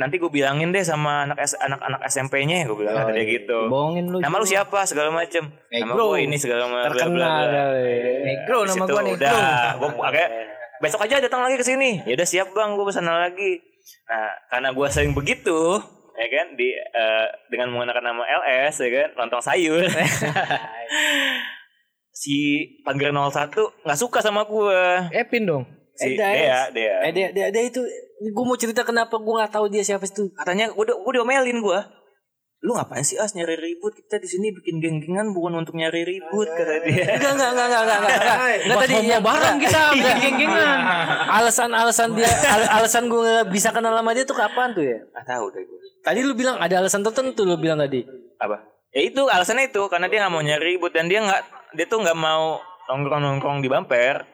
nanti gue bilangin deh sama anak S- anak-anak SMP-nya, gue bilang kata dia gitu. Bohongin lu. Nama lu siapa segala macem Nama Negro. gue ini segala macam. terkenal kali. Negro nama gue negro. Udah, gue agak besok aja datang lagi ke sini. Ya udah siap bang, gue pesan lagi. Nah, karena gue sering begitu, ya kan, di eh, dengan menggunakan nama LS, ya kan, lontong sayur. si Panggilan 01 nggak suka sama gue. Epin dong. Si Eh, Dais. Dea, Dea. Eh dia, dia, dia itu gue mau cerita kenapa gue nggak tahu dia siapa itu. Katanya gue gue diomelin gue. Lu ngapain sih as nyari ribut? Kita di sini bikin geng-gengan bukan untuk nyari ribut kata dia. Enggak enggak enggak enggak enggak enggak. enggak. Enggak tadi yang bareng kita geng-gengan. Alasan-alasan dia al- alasan gue nggak bisa kenal sama dia tuh kapan tuh ya? Gak tahu deh gue. Tadi lu bilang ada alasan tertentu lu bilang tadi. apa ya itu alasannya itu karena dia nggak mau nyari ribut dan dia nggak dia tuh nggak mau nongkrong nongkrong di bumper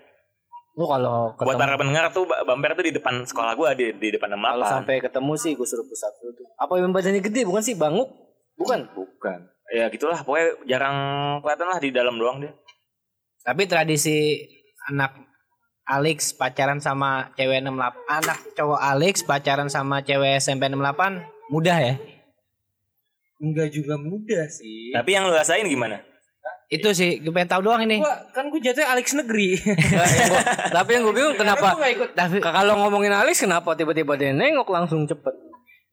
Lu kalau ketemu buat para pendengar tuh ba- bumper tuh di depan sekolah gua di di depan kalau Demapan sampai ketemu sih gue suruh pusat lu tuh. Apa yang badannya gede bukan sih banguk? Bukan. bukan ya gitulah pokoknya jarang kelihatan lah di dalam doang dia Tapi tradisi anak Alex pacaran sama cewek 68 anak cowok Alex pacaran sama cewek SMP 68 mudah Iya. ya. Enggak juga muda sih. tapi yang lu rasain gimana Itu sih gue pengen tahu doang ini. Gua kan gue jatuhnya Alex Negeri. Eh. Tapi yang gue bingung kenapa Gua ikut. Tapi kalau ngomongin Alex kenapa tiba-tiba dia nengok langsung cepet?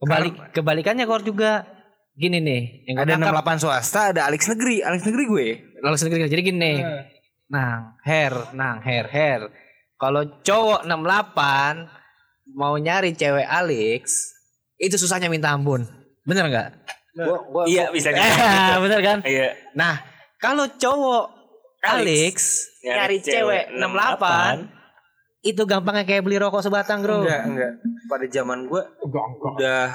kebalik kebalikannya kor juga. Gini nih, yang gue Ada tangkap- 68 swasta, ada Alex Negeri. Alex Negeri gue. lalu sendiri jadi gini nih nang hair nang hair hair kalau cowok 68 mau nyari cewek Alex itu susahnya minta ampun bener nggak Gua, gua, iya bisa Eh, gitu. bener kan iya nah kalau cowok Alex, nyari cewek 68 itu gampangnya kayak beli rokok sebatang bro Enggak, enggak. Pada zaman gue udah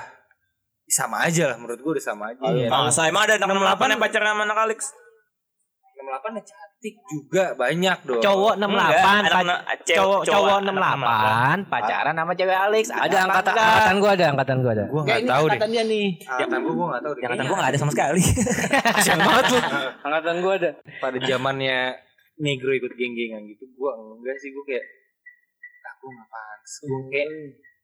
sama aja lah menurut gue udah sama aja. Iya. Ah, saya emang ada anak 68 yang pacaran sama anak Alex. 68 ya cantik juga banyak dong. cowok 68 Enggak, pac- anak- anak- cewek- cowok cowok, cowok anak 68 pacaran sama cewek Alex ada apa angkatan enggak? angkatan gue ada angkatan gue ada. Gue Enggak, nggak ini tahu deh. angkatan dia nih Angkatan gue gue nggak tahu deh. Yang kata gue gak ada sama sekali. Kasian banget lu. Angkatan gue ada. pada zamannya negro ikut geng-gengan gitu gue enggak sih gue kayak aku nggak pantas gue kayak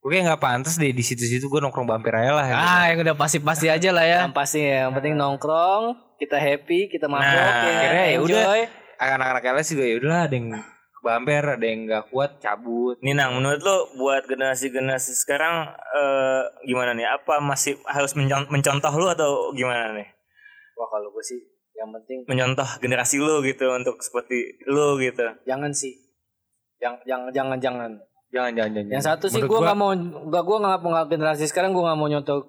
gue kayak nggak pantas deh di situ-situ gue nongkrong bumper aja lah ya. ah yang udah pasti pasti aja lah Eh. ya Yang pasti ya, yang penting nongkrong, kita happy, kita mabok, Nah, ya, akhirnya ya udah. enjoy. anak-anak LS juga ya udahlah ada yang ke bumper ada yang nggak kuat cabut Nih Nang, menurut lo buat generasi-generasi sekarang eh, gimana nih? Apa masih harus mencon- mencontoh lo atau gimana nih? Wah kalau gue sih yang penting Mencontoh generasi lo gitu untuk seperti lo gitu. jangan sih. Yang yang jangan jangan. jangan jangan jangan Yang satu sih Menurut gue nggak mau gak gue nggak mau nggak generasi sekarang gue nggak mau nyontoh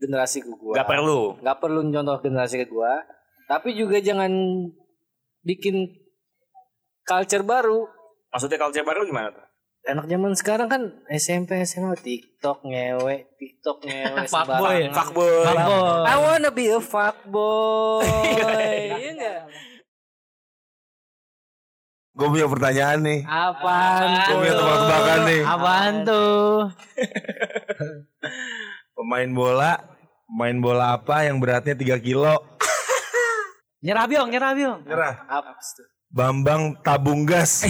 generasi ke gue. Gak perlu. Nggak perlu nyontoh generasi ke gue. Tapi juga jangan bikin culture baru. Maksudnya culture baru gimana tuh? Anak zaman sekarang kan SMP SMA TikTok ngewe TikTok ngewe Fuckboy. ya? sembarangan. Fuckboy. Fuckboy. I wanna be a fuckboy. Iya nggak? Gue punya pertanyaan nih. Apaan gitu? Gue tuh? punya tebak-tebakan nih. Apaan tuh? Pemain bola, pemain bola apa yang beratnya 3 kilo? Nyerah biong, nyerah biong. Nyerah. Apa tuh? Bambang tabung gas.